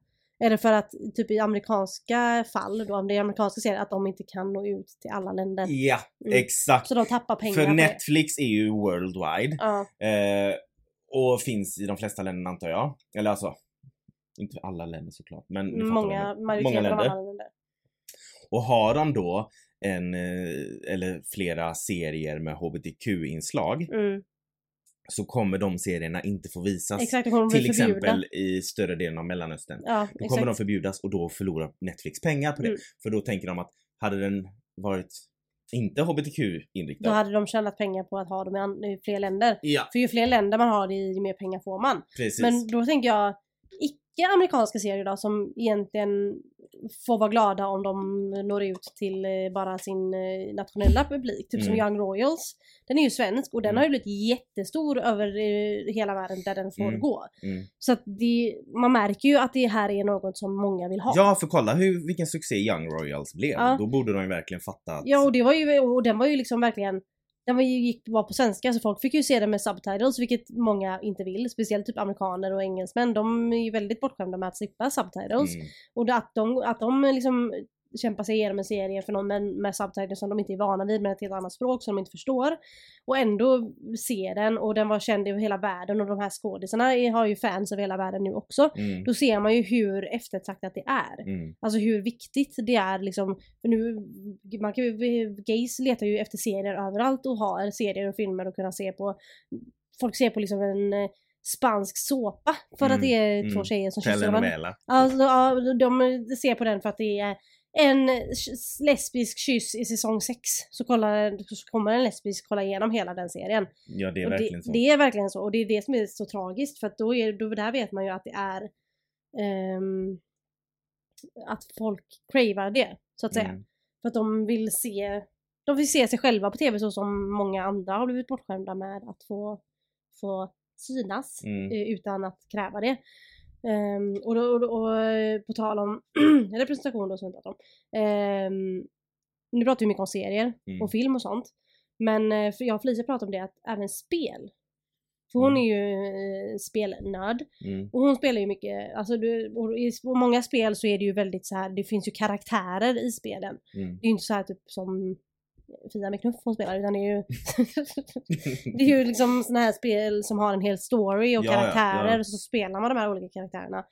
A: Eller för att typ i amerikanska fall, då, om det är amerikanska serier, att de inte kan nå ut till alla länder.
B: Ja,
A: Mm.
B: exakt.
A: Så de tappar pengar
B: För
A: på det.
B: Netflix är ju worldwide.
A: Ja.
B: Eh, och finns i de flesta länderna antar jag. Eller alltså, inte alla länder såklart men ni fattar vad jag
A: Många,
B: menar.
A: majoriteten
B: Många
A: av
B: länder.
A: alla länder.
B: Och har de då en, eh, eller flera serier med HBTQ-inslag
A: Mm.
B: så kommer de serierna inte få visas.
A: Exakt, då kommer de
B: Till
A: bli
B: exempel
A: förbjudna.
B: i större delen av Mellanöstern.
A: Ja,
B: Då
A: exakt.
B: kommer de förbjudas och då förlorar Netflix pengar på det.
A: Mm.
B: För då tänker de att hade den varit inte
A: Då
B: HBTQ-inriktad.
A: hade de tjänat pengar på att ha dem i an- i fler länder.
B: Ja,
A: För ju fler länder man har det i, ju mer pengar får man.
B: precis.
A: Men då tänker jag icke amerikanska serier då som egentligen får vara glada om de når ut till eh, bara sin eh, nationella publik. Typ som
B: Mm.
A: Young Royals. Den är ju svensk och den
B: Mm.
A: har ju blivit jättestor över eh, hela världen där den får
B: Mm.
A: gå.
B: Mm.
A: Så att det, man märker ju att det här är något som många vill ha.
B: Ja, för kolla hur, vilken succé Young Royals blev.
A: Ja.
B: Då borde de ju verkligen fatta att...
A: Ja och det var ju, och den var ju liksom verkligen den var ju, gick, var på svenska så folk fick ju se den med subtitles vilket många inte vill. Speciellt typ amerikaner och engelsmän. De är ju väldigt bortskämda med att slippa subtitles.
B: Mm.
A: Och det- att de, att de liksom kämpar sig igenom en serie för någon med, med subtitles som de inte är vana vid med ett helt annat språk som de inte förstår. Och ändå ser den och den var känd över hela världen och de här skådisarna är- har ju fans över hela världen nu också.
B: Mm.
A: Då ser man ju hur eftertraktat det är.
B: Mm.
A: Alltså hur viktigt det är liksom, för nu, man kan ju, gays letar ju efter serier överallt och har serier och filmer att kunna se på. Folk ser på liksom en eh, spansk såpa för
B: Mm,
A: att det är två
B: mm.
A: tjejer som kysser varandra.
B: Telenovela.
A: Alltså, ja, de ser på den för att det är en lesbisk kyss i säsong 6. Så, kollar, så kommer en lesbisk kolla igenom hela den serien.
B: Ja, det är
A: Och
B: verkligen
A: det,
B: så.
A: det är verkligen så. Och det är det som är så tragiskt för att då, är, då där vet man ju att det är ehm, att folk cravar det, så att säga.
B: Mm.
A: För att de vill se de vill se sig själva på tv så som många andra har blivit bortskämda med att få, få synas
B: Mm.
A: eh, utan att kräva det. Ehm, och, då, och, då- och eh, på tal om representation då som vi pratade om. Ehm, nu pratar vi mycket om serier
B: Mm.
A: och film och sånt. Men eh, för jag och Felicia pratade om det att även spel. För hon
B: Mm.
A: är ju eh, spelnörd.
B: Mm.
A: Och hon spelar ju mycket, alltså du, och i s- och många spel så är det ju väldigt så här, det finns ju karaktärer i spelen.
B: Mm.
A: Det är ju inte så här typ som Fia med knuff hon spelar utan det är ju Det är ju liksom såna här spel som har en hel story och
B: Ja, ja,
A: karaktärer
B: ja.
A: och så spelar man de här olika karaktärerna.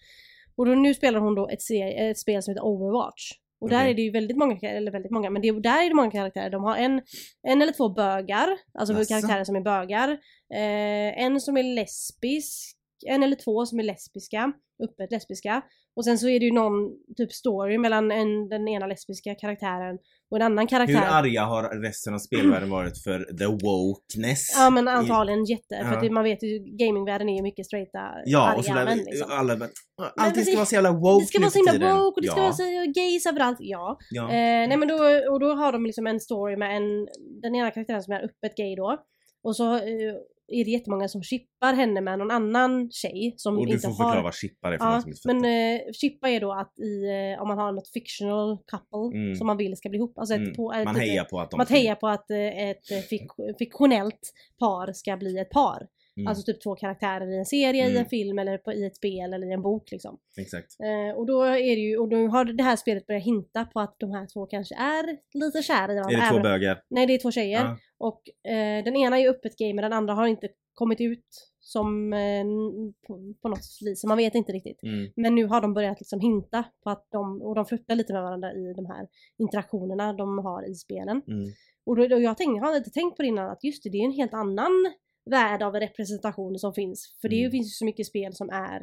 A: Och då, nu spelar hon då ett, se- ett spel som heter Overwatch. Och där
B: Okej.
A: är det ju väldigt många, kar- eller väldigt många, men det, är- där är det många karaktärer. De har en, en eller två bögar, alltså
B: Jaså?
A: karaktärer som är bögar. Eh, en som är lesbisk, en eller två som är lesbiska, öppet lesbiska. Och sen så är det ju någon typ story mellan en, den ena lesbiska karaktären och en annan karaktär.
B: Hur arga har resten av spelvärlden varit för the wokeness?
A: Ja men antagligen jätte, för att
B: Ja.
A: det, man vet ju gamingvärlden är ju mycket straighta,
B: Ja,
A: arga
B: och sådär,
A: män liksom.
B: alla bara,
A: men
B: allting
A: det-
B: ska vara så jävla woke
A: Det ska
B: nu
A: vara så
B: för
A: himla
B: tiden."
A: woke och det ska
B: ja,
A: vara så gays överallt, ja.
B: ja.
A: Eh, nej men då, och då har de liksom en story med en, den ena karaktären som är öppet gay då. Och så eh, är det jättemånga som chippar henne med någon annan tjej som
B: Och du
A: inte
B: får
A: har...
B: förklara vad chippar är för någon
A: Ja,
B: som inte
A: men
B: fattar.
A: eh, chippa är då att i, eh, om man har något fictional couple
B: Mm.
A: som man vill ska bli ihop, alltså ett,
B: Mm.
A: på, ett
B: Man
A: lite-
B: hejar på att de...
A: man hejar på att eh, ett eh, fik fiktionellt par ska bli ett par.
B: Mm.
A: Alltså typ två karaktärer i en serie, i en
B: Mm.
A: film eller på, i ett spel eller i en bok liksom.
B: Exakt.
A: Eh, och då är det ju, och då har det här spelet börjat hinta på att de här två kanske är lite kära i varandra.
B: Är det två
A: även-
B: bögar?
A: Nej det är två tjejer.
B: Ja.
A: Och eh, den ena är ju öppet gay men den andra har inte kommit ut som eh, n- på, på något vis, så man vet inte riktigt.
B: Mm.
A: Men nu har de börjat liksom hinta på att de, och de flörtar lite med varandra i de här interaktionerna de har i spelen.
B: Mm.
A: Och, då, och jag tänkte, jag hade inte tänkt på det innan att just det, det är en helt annan värde av representation som finns. För det
B: Mm.
A: finns ju så mycket spel som är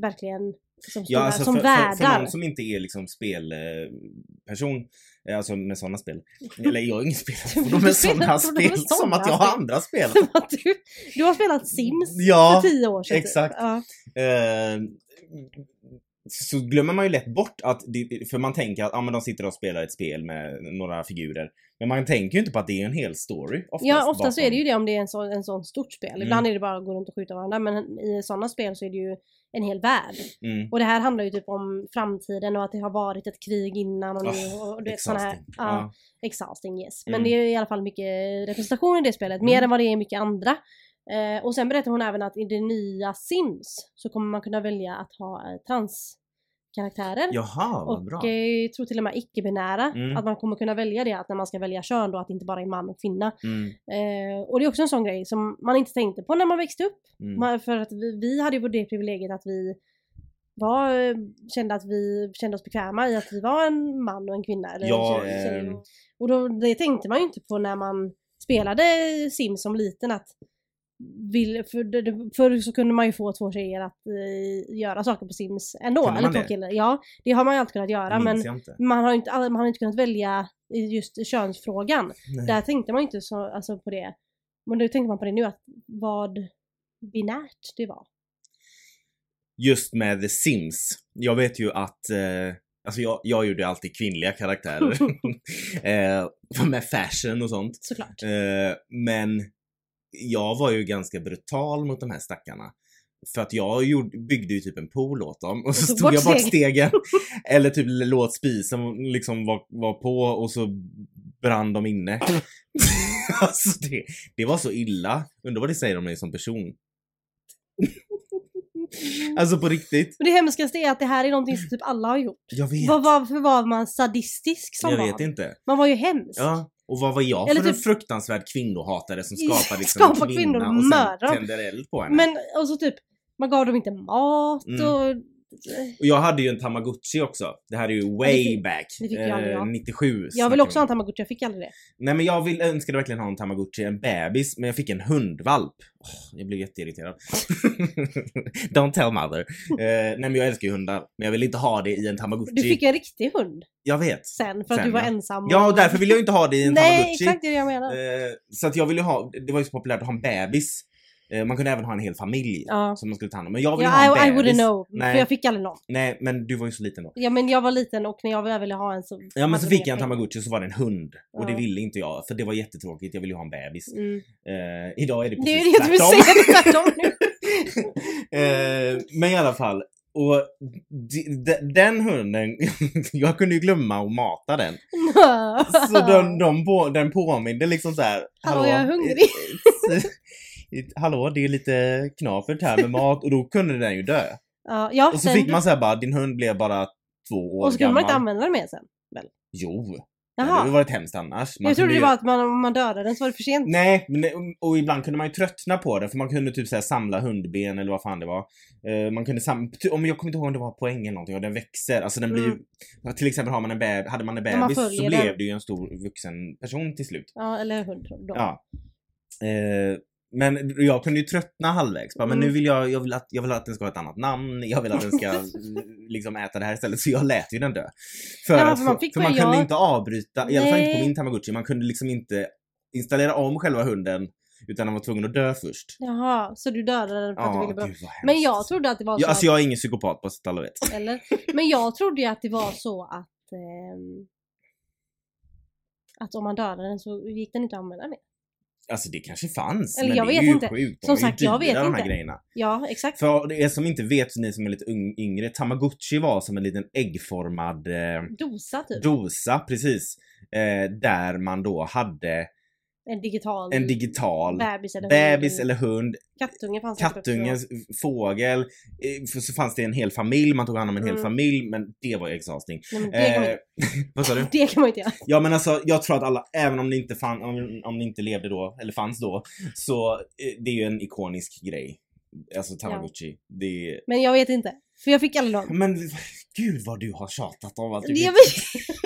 A: verkligen som,
B: Ja,
A: stora,
B: alltså
A: som
B: för, för,
A: värdar.
B: för någon som inte är liksom spelperson, alltså med sådana spel. Eller jag är ingen spelare
A: Du
B: med
A: spelar
B: sådana
A: fordon med
B: spel, som
A: sådana
B: att jag har
A: spel.
B: andra spel.
A: du, du har spelat Sims
B: Ja,
A: för tio år sedan. typ.
B: exakt.
A: Ja.
B: Eh, så glömmer man ju lätt bort att, det, för man tänker att ah, men de sitter och spelar ett spel med några figurer. Men man tänker ju inte på att det är en hel story.
A: Ja, ofta så
B: bakom.
A: är det ju det om det är en sån, en sån stort spel.
B: Mm.
A: Ibland är det bara att gå runt och skjuta varandra men i sådana spel så är det ju en hel värld.
B: Mm.
A: Och det här handlar ju typ om framtiden och att det har varit ett krig innan och nu
B: Ah,
A: och, och du vet såna här.
B: exhausting.
A: Ja,
B: Ja.
A: exhausting yes. Men
B: Mm.
A: det är i alla fall mycket representation i det spelet, mer
B: Mm.
A: än vad det är i mycket andra. Eh, och sen berättar hon även att i det nya Sims så kommer man kunna välja att ha eh, transkaraktärer.
B: Jaha, vad bra.
A: Och eh, jag tror till och med icke-binära,
B: Mm.
A: att man kommer kunna välja det att när man ska välja kön då att det inte bara är man och kvinna.
B: Mm,
A: Eh, och det är också en sån grej som man inte tänkte på när man växte upp.
B: mm.
A: Man, för att vi, vi hade ju det privilegiet att vi var, eh, kände att vi kände oss bekväma i att vi var en man och en kvinna. Eller
B: Ja,
A: en tjej-
B: ehm.
A: Och då, det tänkte man ju inte på när man spelade Sims som liten att vill, för, det- det- förr så kunde man ju få två tjejer att eh, göra saker på Sims ändå.
B: Kunde man
A: eller två
B: det?
A: killar. Ja, det har man ju alltid kunnat göra
B: Minns
A: men
B: jag inte.
A: man har, ju inte, man har ju inte kunnat välja i just könsfrågan.
B: Nej.
A: Där tänkte man ju inte så, alltså, på det. Men då tänker man på det nu att vad binärt det var.
B: just med The Sims. Jag vet ju att, eh, alltså jag, jag gjorde alltid kvinnliga karaktärer. eh, med fashion och sånt.
A: Såklart.
B: Eh, men jag var ju ganska brutal mot de här stackarna. För att jag gjorde, byggde ju typ en pool åt dem och så
A: tog
B: stod
A: bort
B: jag bort
A: steg.
B: stegen. Eller typ låt spisen liksom var, var på och så brann de inne. alltså det, det var så illa. Undrar vad det säger om mig som person. Alltså på riktigt.
A: Men det hemskaste är att det här är någonting som typ alla har gjort.
B: Jag vet.
A: Vad, varför var man sadistisk som
B: jag
A: barn?
B: vet inte.
A: Man var ju hemsk.
B: Ja. Och vad var jag
A: Eller
B: för en
A: typ-
B: fruktansvärd kvinnohatare som skapade liksom
A: Skapar
B: en
A: kvinnor
B: kvinna
A: och
B: och
A: mördar dem.
B: sen tänder eld på henne.
A: Men och så typ, man gav dem inte mat
B: Mm.
A: och...
B: Och jag hade ju en tamagotchi också. Det här är ju
A: det
B: way
A: fick-
B: back.
A: det fick jag aldrig ha.
B: 97.
A: Jag vill
B: snackar
A: också
B: vi
A: ha
B: om.
A: en tamagotchi, jag fick aldrig det.
B: Nej men jag vill, önskade verkligen ha en tamagotchi, en bebis, men jag fick en hundvalp. Åh, jag blev jätteirriterad. Don't tell mother. Eh, nej men jag älskar ju hundar, men jag vill inte ha det i en tamagotchi.
A: Du fick en riktig hund
B: Jag vet.
A: sen för att
B: Typ. Sen,
A: du var
B: ja.
A: ensam.
B: Ja och därför vill jag ju inte ha det i en
A: Nej,
B: tamagotchi.
A: exakt det är det jag menar.
B: Eh, så att jag ville ha, det var ju så populärt att ha en bebis. Eh, man kunde även ha en hel familj
A: Ja.
B: som man skulle ta hand om. Men jag ville
A: Ja,
B: ha
A: I, I
B: en bebis.
A: wouldn't know.
B: Nej.
A: För jag fick aldrig någon.
B: Nej men du var ju så liten då.
A: Ja men jag var liten och när jag väl ville ha en så...
B: Ja men så
A: hade
B: fick jag en
A: pengar.
B: tamagotchi och så var det en hund. Och det
A: Ja.
B: ville inte jag för det var jättetråkigt, jag ville ju ha en bebis.
A: Mm.
B: Eh, idag är det
A: Det är
B: precis
A: ju det du säger, det är tvärtom nu.
B: eh, men i alla fall. Och de, de, den hunden, jag kunde ju glömma att mata den. Så den, de på, den påminde liksom så här.
A: Hallå, jag är hungrig.
B: it- Hallå det är lite knapert här med mat och då kunde den ju dö.
A: Ja, ja,
B: Och så
A: sen-
B: fick man såhär bara, din hund blev bara två år
A: Och så kunde
B: gammal.
A: man inte använda den mer sen.
B: Jo! Det
A: Jaha.
B: hade varit hemskt annars. Man
A: jag trodde
B: kunde
A: det
B: ju-
A: var att man, om man dödade den så var det för sent.
B: Nej, men det, och ibland kunde man ju tröttna på det för man kunde typ så här samla hundben eller vad fan det var. Eh, man kunde sam- ty- om jag kommer inte ihåg om det var poäng eller någonting och den växer. Alltså den blir ju, till exempel har man en beb- hade man en
A: Mm. man
B: bebis så
A: följer
B: blev
A: den.
B: det ju en stor vuxen person till slut.
A: Ja, eller hund då.
B: Ja. Eh, men jag kunde ju tröttna halvvägs. Bara, Men
A: Mm.
B: nu vill jag, jag vill, att, jag vill att den ska ha ett annat namn, jag vill att den ska eh, liksom äta det här istället. Så jag lät ju den dö. För,
A: Ja,
B: att,
A: för
B: för
A: man
B: man,
A: fick
B: för man
A: börja-
B: kunde inte avbryta, i alla fall inte på
A: Nej.
B: min tamagotchi, man kunde liksom inte installera om själva hunden utan den var tvungen att dö först.
A: Jaha, så du dödade den för att du ville bra.
B: gud vad hemskt.
A: Men jag trodde att det var så
B: jag, Alltså jag är ingen psykopat på så att alla vet.
A: att, eller? Men jag trodde ju att det var så att ehm, att om man dödade den så gick den inte att använda mer.
B: Alltså det kanske fanns,
A: Eller
B: men
A: jag
B: det är
A: vet
B: ju
A: inte.
B: sjukt. De
A: Som
B: är ju
A: sagt, jag vet
B: dyra, de här
A: inte.
B: grejerna.
A: Ja, exakt.
B: För er som inte vet, ni som är lite ung- yngre, tamagotchi var som en liten äggformad eh,
A: Dosa typ.
B: dosa, precis. Eh, där man då hade
A: en digital
B: en digital
A: bebis eller
B: bebis
A: hund.
B: eller hund,
A: kattunge fanns säkert också.
B: kattunge, fågel. eh, för Så fanns det en hel familj, man tog hand om en hel
A: Mm.
B: familj, men det var ju exhausting.
A: Nej, men det, kan man,
B: Eh, vad sa du?
A: det kan man inte göra.
B: Ja men alltså jag tror att alla, även om ni inte, fann, om, om ni inte levde då, eller fanns då, så eh, det är ju en ikonisk grej. Alltså Tamagotchi. Det är...
A: Men jag vet inte. För jag fick aldrig någon.
B: Men gud vad du har tjatat om att du
A: Det- Jag
B: inte-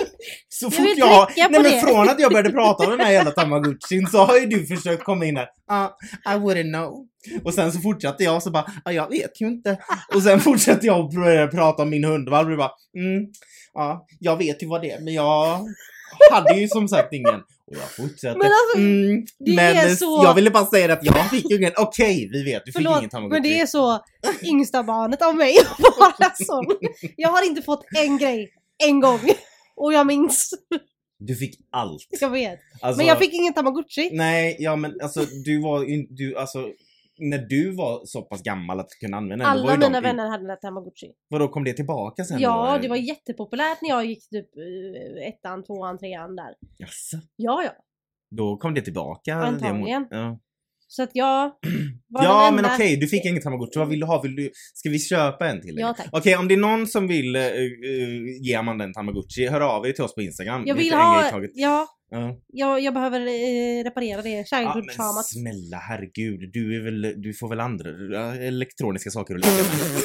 A: vet,
B: så
A: Jag
B: fort
A: vill
B: jag, har...
A: trycka på
B: Nej men
A: det.
B: från att jag började prata om den här jävla tamagotchin så har ju du försökt komma in här. Ah, I wouldn't know. Och sen så fortsatte jag så bara, ah, jag vet ju inte. Och sen fortsatte jag och började prata om min hundvalp och bara, mm, ja, jag vet ju vad det är men jag hade ju som sagt ingen. Och jag fortsatte.
A: Men alltså,
B: mm,
A: det
B: men
A: är
B: eh,
A: så-
B: jag ville bara säga det att jag fick ju ingen. Okej, vi vet, du fick ingen
A: Förlåt,
B: tamagotchi.
A: men det är så yngsta barnet av mig att vara sån. Jag har inte fått en grej en gång. Och jag minns.
B: Du fick allt.
A: Jag vet.
B: Alltså,
A: Men jag fick ingen tamagotchi.
B: Nej, ja men alltså du var ju du, alltså när du var så pass gammal att du kunde använda den, då var
A: Alla
B: ju de-
A: mina vänner hade den här tamagotchi.
B: Vadå, kom det tillbaka sen?
A: Ja,
B: då?
A: det var jättepopulärt när jag gick typ eh, ettan, tvåan, trean där.
B: Jaså?
A: Ja, ja.
B: Då kom det tillbaka?
A: Antagligen.
B: Det, ja,
A: Så att jag var
B: ja
A: den
B: men
A: enda-
B: okej, du fick ingen tamagotchi. Vad vill du ha? Vill du, ska vi köpa en till dig?
A: Ja, tack.
B: Okej, om det är någon som vill eh, eh, ge Amanda en tamagotchi, hör av er till oss på Instagram.
A: Jag
B: Vi
A: vill
B: tar en grej
A: ha,
B: i taget.
A: ja,
B: Ja.
A: jag, jag behöver eh, reparera det
B: Ja, men
A: childhood-traumat.
B: snälla herregud, du, är väl, du får väl andra ja, elektroniska saker att leka med.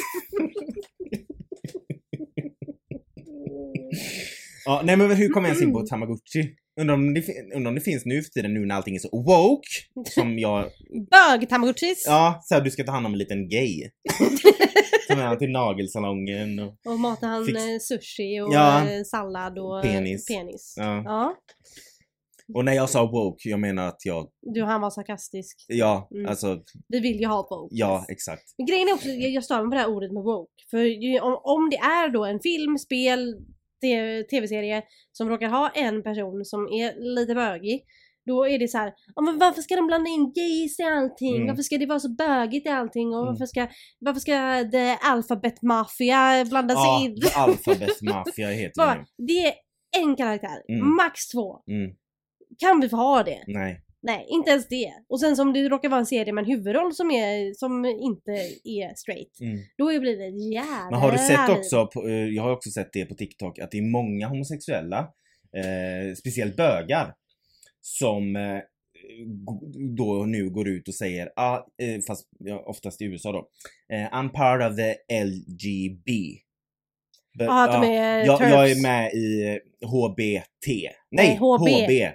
B: ja, nej men hur kom jag ens in på Tamagotchi? Undrar om, det, fin- undrar om det finns nu för tiden nu när allting är så woke som jag...
A: Bög-tamagotchis!
B: Ja, såhär du ska ta hand om en liten gay. Ta med honom till nagelsalongen och...
A: Och mata han
B: Fix-
A: eh, sushi och
B: Ja.
A: eh, sallad och eh,
B: Penis.
A: penis. Ja.
B: Ja. Och när jag sa woke, jag menar att jag...
A: Du, han var sarkastisk.
B: Ja,
A: Mm.
B: alltså
A: Vi vill ju ha woke.
B: ja exakt.
A: Men grejen är också, jag, jag stör mig på det här ordet med woke. För ju, om, om det är då en film, spel, te- tv-serie som råkar ha en person som är lite bögig. Då är det så här, "Ja, men varför ska de blanda in gays i allting?
B: Mm.
A: Varför ska det vara så bögigt i allting? Och
B: Mm.
A: varför, ska, varför ska the alphabet mafia blanda sig
B: Ja,
A: in?
B: Alphabet Mafia heter det
A: Bara, det är en karaktär,
B: Mm.
A: max två.
B: nu. Mm,
A: Kan vi få ha det?
B: nej.
A: Nej, inte ens det. Och sen som det råkar vara en serie med en huvudroll som, är, som inte är straight.
B: Mm.
A: Då blir det ett jävla
B: Men har du sett
A: liv.
B: också, på, eh, jag har också sett det på TikTok, att det är många homosexuella, eh, speciellt bögar, som eh, go- då nu går ut och säger, ah, eh, fast ja, oftast i USA då, eh, I'm part of the LGB. But,
A: Ja, Ah, att de
B: ja,
A: är
B: jag,
A: turfs.
B: jag är med i eh, HBT. Nej,
A: Nej, HB.
B: HB.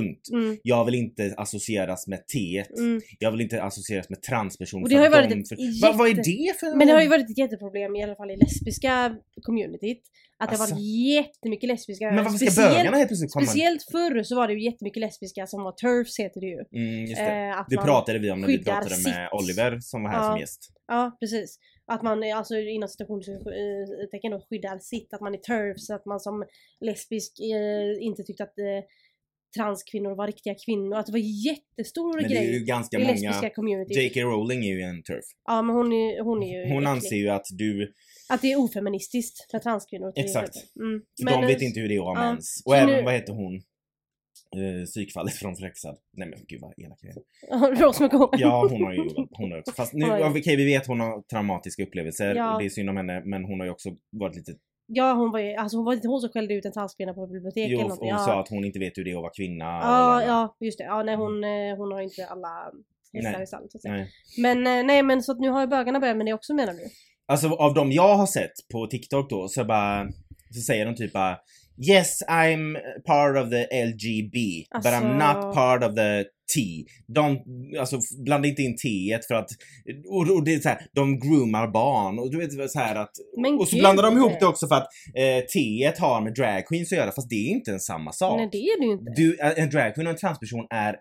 B: Punkt.
A: Mm,
B: Jag vill inte associeras med T.
A: mm.
B: Jag vill inte associeras med transperson.
A: Och
B: för
A: det har ju
B: att
A: varit
B: de
A: ett
B: för... Va, vad är
A: jätte-
B: det för
A: Men det har ju varit ett jätteproblem i alla fall i lesbiska communityt. Att det
B: Alltså.
A: har varit jättemycket lesbiska.
B: Men varför ska
A: Eh, speciellt,
B: bögarna helt plötsligt komma?
A: Speciellt förr så var det ju jättemycket lesbiska som var turfs heter det ju.
B: Mm, just det.
A: Eh, att
B: det
A: man-
B: pratade vi om när vi
A: skyddar
B: pratade med
A: sitt.
B: Oliver som var här
A: Ja.
B: som gäst.
A: Ja, precis. Att man eh, alltså, inom citationstecken då skyddar sitt, att man är turf, så att man som lesbisk eh, inte tyckte att eh, transkvinnor var riktiga kvinnor. Att det var jättestor
B: Men det
A: grej
B: är ju ganska
A: i
B: många...
A: lesbiska community.
B: J.K. Rowling är ju en turf.
A: Ja, men hon är, hon är ju
B: Hon
A: äcklig.
B: anser ju att du...
A: Att det är ofeministiskt med transkvinnor. till
B: Exakt.
A: exempel. Mm.
B: de
A: eh,
B: vet inte hur det är att ha
A: ja.
B: mens.
A: Så
B: Och även,
A: nu-
B: vad heter hon? Eh, psykfallet från Fläxad. Nej men gud vad elak jag är.
A: Rose McGowan.
B: Ja hon har ju hon har också. Fast nu,
A: Hon har ju-
B: okej vi vet hon har traumatiska upplevelser
A: Ja.
B: och det är synd om henne men hon har ju också varit lite...
A: Ja, hon var ju, alltså hon var inte hon som skällde ut en transkvinna på biblioteket
B: Jo,
A: eller
B: hon
A: någonting. ja.
B: sa att hon inte vet hur det är att vara kvinna. och
A: Ja,
B: alla-
A: ja, just det. Ja, nej, hon, eh, hon har inte alla hästar
B: Nej.
A: i stallet så att säga.
B: Nej.
A: Men eh, nej men så att nu har ju bögarna börjat med det också menar du?
B: Alltså av de jag har sett på TikTok då så bara, så säger de typ bara Yes I'm part of the LGB but I'm
A: Alltså-
B: not part of the T. De, alltså f- blanda inte in T för att, och, och det är så här, de groomar barn och du vet så här att
A: Men
B: och så
A: gud.
B: blandar de ihop det också för att eh, T har med drag queens att göra fast det är inte en samma sak.
A: eh, Nej det är det ju inte.
B: Du, eh, en drag queen och en transperson är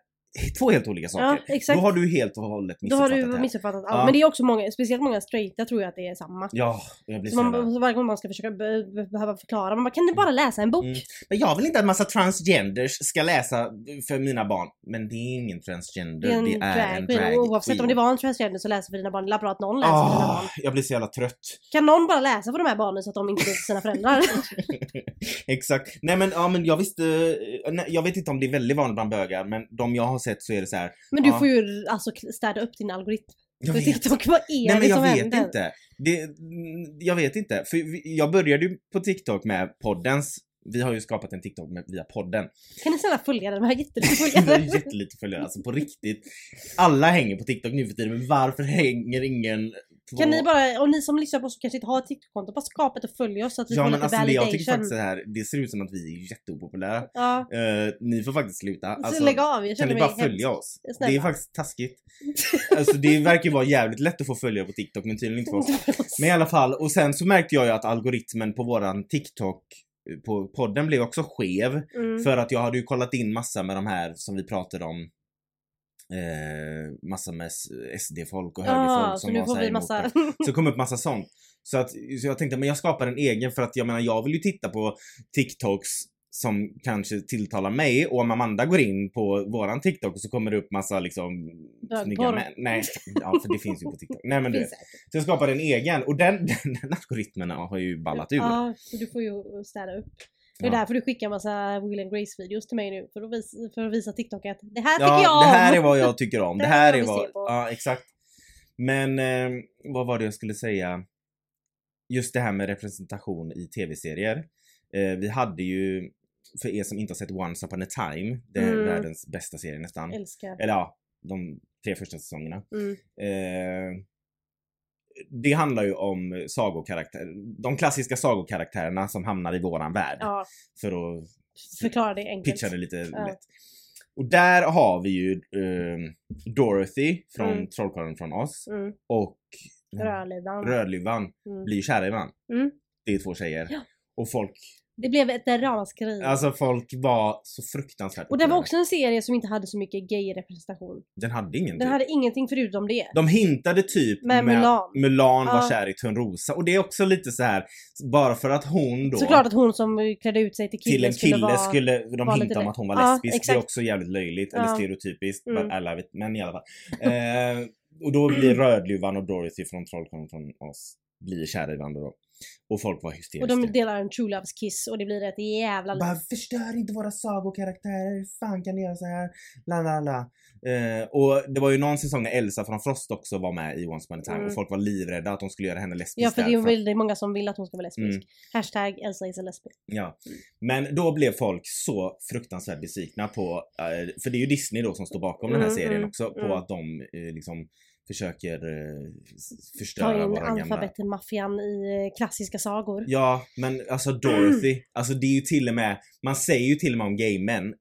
B: två helt olika
A: ja
B: saker.
A: exakt.
B: Då har du helt och hållet
A: Då har
B: missuppfattat det
A: du
B: här.
A: missuppfattat allt.
B: Ja.
A: Men det är också många, speciellt många straighta tror jag att det är samma.
B: Ja, jag blir
A: Så
B: så jävla-
A: man, så varje gång man ska försöka be, be, behöva förklara, man bara, kan du bara läsa en bok?
B: Mm. Men jag vill inte att massa transgenders ska läsa för mina barn. Men det är ingen transgender,
A: Det är en, drag, queen. Och Oavsett om det var en transgender så läser för dina barn. Det är bra att någon läser för dina
B: Ah,
A: barn.
B: jag blir så jävla trött.
A: Kan någon bara läsa för de här barnen så att de inte läser sina föräldrar?
B: Exakt. Nej men, ja, men jag visste, eh, nej, jag vet inte om det är väldigt vanligt bland bögar men de jag har sett så är det så här.
A: Men du
B: Ja.
A: får ju alltså städa upp din algoritm.
B: Jag
A: på
B: vet,
A: TikTok, vad är
B: nej,
A: det
B: men jag
A: som
B: vet
A: händer?
B: inte. Det, mm, jag vet inte. För vi- jag började ju på TikTok med poddens, vi har ju skapat en TikTok med, via podden.
A: Kan ni snälla följa den? De här jättelite
B: Jag har
A: följare.
B: jättelite följare, alltså på riktigt. Alla hänger på TikTok nu för tiden men varför hänger ingen
A: Kan ni bara, och ni som lyssnar på oss som kanske inte har ett TikTok-konto, bara skapa ett och följ oss så att vi
B: Ja
A: får
B: men
A: lite
B: alltså det,
A: validation.
B: jag tycker faktiskt det här, det ser ut som att vi är jätteopopulära.
A: Ja.
B: Eh, ni får faktiskt sluta.
A: så
B: Alltså,
A: lägg av, jag
B: kan
A: känner
B: ni
A: mig
B: bara
A: hemskt.
B: följa oss? Det är
A: Snälla.
B: faktiskt taskigt. alltså det verkar ju vara jävligt lätt att få följare på TikTok men tydligen inte för oss. Men i alla fall, och sen så märkte jag ju att algoritmen på våran TikTok eh, på podden blev också skev.
A: Mm.
B: För att jag hade ju kollat in massa med de här som vi pratade om. Eh, massa med s- SD-folk och högerfolk
A: Ja, så
B: som
A: Ah, nu
B: var
A: får
B: såhär
A: vi
B: emot
A: massa...
B: det. Så det kom upp massa sånt. Så, att, så jag tänkte, men jag skapar en egen för att jag menar jag vill ju titta på TikToks som kanske tilltalar mig och om Amanda går in på våran TikTok så kommer det upp massa liksom
A: Bögporr.
B: snygga män. Nej, ja för det finns ju på TikTok. Nej men du.
A: Finns säkert.
B: Så jag skapar en egen och den, den, den algoritmen har ju ballat ur.
A: Ja, så du får ju städa upp. Det är
B: Ja.
A: därför du skickar massa Will and Grace videos till mig nu. För att visa, för att visa TikTok att det här tycker jag
B: Ja, det här är
A: om.
B: vad jag tycker om.
A: Det
B: Det
A: här
B: här
A: vill
B: är
A: vi
B: vad...
A: se på.
B: Ja, exakt. Men eh, vad var det jag skulle säga? Just det här med representation i tv-serier. Eh, vi hade ju, för er som inte har sett Once upon a time, det är
A: Mm.
B: världens bästa serie nästan.
A: Älskar.
B: Eller ja, de tre första säsongerna.
A: Mm.
B: Eh, det handlar ju om sagokaraktärer, de klassiska sagokaraktärerna som hamnar i våran värld.
A: Ja,
B: För att
A: förklara det enkelt.
B: pitchade lite
A: Ja.
B: lätt. Och där har vi ju ehm, Dorothy från
A: Mm.
B: Trollkarlen från Oz
A: Mm.
B: och
A: Rödluvan.
B: Rödluvan
A: Mm.
B: blir kära i varandra.
A: Mm.
B: Det är två tjejer.
A: Ja.
B: Och folk,
A: Det blev ett ramaskri.
B: alltså folk var så fruktansvärt
A: och det var
B: upprörda.
A: också en serie som inte hade så mycket gay-representation.
B: Den hade ingen
A: Den
B: typ.
A: hade ingenting förutom det.
B: De hintade typ
A: Med
B: med
A: Mulan.
B: Mulan var
A: Ja.
B: kär i Törnrosa och det är också lite så här bara för att hon då
A: Såklart att hon som klädde ut sig till kille,
B: till en kille
A: skulle vara...
B: skulle, de
A: vara lite
B: hintade om
A: det.
B: att hon var
A: Ja,
B: lesbisk. Det är
A: exakt.
B: också jävligt löjligt
A: Ja.
B: eller stereotypiskt.
A: Mm.
B: But I love it. Men i alla fall. Eh, och då blir Rödluvan och Dorothy från Trollkarlen från oss blir kära i varandra då. Och folk var
A: Och
B: hysteriska.
A: de delar en true loves kiss och det blir ett jävla...
B: Bara förstör inte våra sagokaraktärer, hur fan kan ni göra så här? La la la. Eh, och det var ju någon säsong när Elsa från Frost också var med i Once upon a time
A: Mm.
B: och folk var livrädda att de skulle göra henne lesbisk.
A: Ja för det
B: där
A: är väldigt många som vill att hon ska vara lesbisk.
B: Mm.
A: Hashtag Elsa is a lesbian.
B: Ja.
A: Mm.
B: Men då blev folk så fruktansvärt besvikna på, eh, för det är ju Disney då som står bakom den här
A: Mm,
B: serien
A: mm,
B: också, på
A: mm.
B: att de eh, liksom försöker eh, s-
A: Ta
B: förstöra
A: in
B: våra gamla...
A: alfabeten-maffian i eh, klassiska sagor.
B: Ja, men alltså
A: Mm.
B: Dorothy, alltså det är ju till och med, man säger ju till och med om gay men,
A: Mm.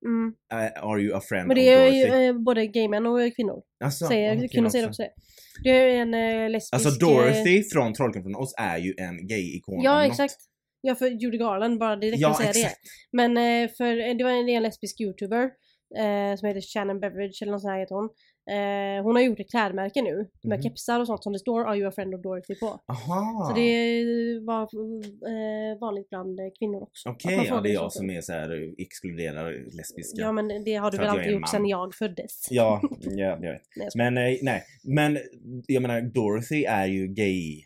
B: eh, are you a friend
A: Men det är
B: of Dorothy?
A: ju eh, både gay män och kvinnor.
B: alltså,
A: säger,
B: ja,
A: kvinnor säger också det. Det är ju en eh, lesbisk...
B: Alltså
A: eh,
B: Dorothy från Trollkarlen från Oz är ju en gay-ikon om
A: Ja
B: något.
A: exakt. Ja för Judy Garland bara direkt
B: Ja,
A: att säga
B: exakt.
A: det. Men eh, för eh, det var en, det är en lesbisk youtuber eh, som heter Shannon Beveridge eller något sånt här heter hon. Eh, hon har gjort ett klädmärke nu med
B: Mhm. Ah.
A: kepsar och sånt som det står Are you a friend of Dorothy på.
B: Aha!
A: Så det var eh, vanligt bland eh, kvinnor också.
B: Okej,
A: Att man liksom
B: ja,
A: frågar
B: det är
A: sånt.
B: jag som är så här exkluderar lesbiska.
A: Ja men det har du
B: För
A: väl
B: att jag
A: alltid
B: är en
A: gjort
B: man.
A: sedan jag föddes?
B: Ja, ja jag vet.
A: Nej, jag skojar.
B: Men eh, nej, men jag menar Dorothy är ju gay.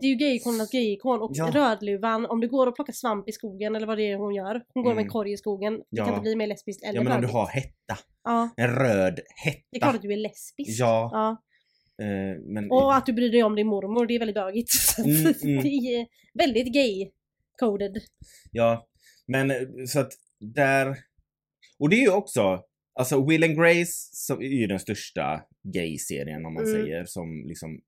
A: Det är ju gayikonernas gayikon och
B: Ja.
A: Rödluvan, om du går och plockar svamp i skogen eller vad det är hon gör. Hon går med en
B: Mm.
A: korg i skogen. Det
B: Ja.
A: kan inte bli mer lesbiskt eller
B: Ja men om du
A: bögigt.
B: har hetta,
A: Ja,
B: en röd
A: det är klart
B: hetta.
A: att du är lesbisk.
B: Ja.
A: ja.
B: Eh, men,
A: Och att du bryr dig om din mormor, det är väldigt bögigt.
B: Mm, mm.
A: det är väldigt gay-coded.
B: Ja, men eh, så att där... Och det är ju också, alltså Will and Grace som är ju den största gay-serien om man
A: Mm.
B: säger som liksom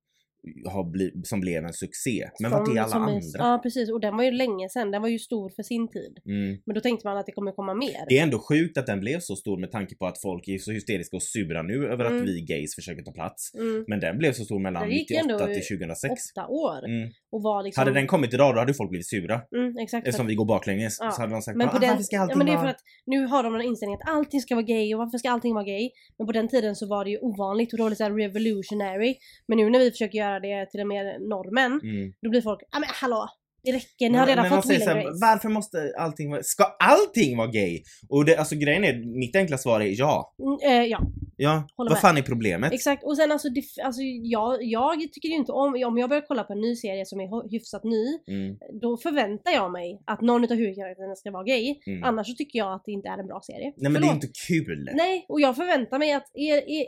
B: har bli, som blev en succé. Men
A: Som-
B: vart är alla
A: som
B: andra?
A: är- Ja precis, och den var ju länge sedan. Den var ju stor för sin tid.
B: Mm.
A: Men då tänkte man att det kommer komma mer.
B: Det är ändå sjukt att den blev så stor med tanke på att folk är så hysteriska och sura nu över
A: Mm.
B: att vi gays försöker ta plats.
A: Mm.
B: Men den blev så stor mellan
A: Det gick ju
B: 98
A: ändå
B: till 2006.
A: Åtta år.
B: Mm.
A: Och var liksom...
B: Hade den kommit idag då hade folk blivit sura.
A: Mm, exakt.
B: Eftersom vi går baklänges
A: Ja.
B: så hade de sagt
A: Men på
B: "Ah,
A: den...
B: vi ska alltid
A: ja, men det är
B: vara-"
A: för att nu har de en inställning att allting ska vara gay och varför ska allting vara gay? Men på den tiden så var det ju ovanligt och då var det så här revolutionary. Men nu när vi försöker göra det till och med normen,
B: Mm.
A: då blir folk ja men hallå! Det räcker, ni
B: Men-
A: har redan
B: men de
A: fått
B: säger
A: Will
B: så
A: and
B: här,
A: Grace.
B: Varför måste allting vara... Ska allting vara gay? Och det, alltså grejen är, mitt enkla svar är ja.
A: Mm, eh, ja,
B: Ja.
A: Håller
B: Vad
A: med.
B: fan är problemet?
A: exakt. Och sen alltså, det, alltså jag, jag tycker ju inte om, om jag börjar kolla på en ny serie som är ho- hyfsat ny,
B: Mm,
A: då förväntar jag mig att någon av huvudkaraktärerna ska vara gay.
B: mm.
A: Annars så tycker jag att det inte är en bra serie.
B: Nej men det
A: Förlåt.
B: är inte kul.
A: Nej, och jag förväntar mig att er, er,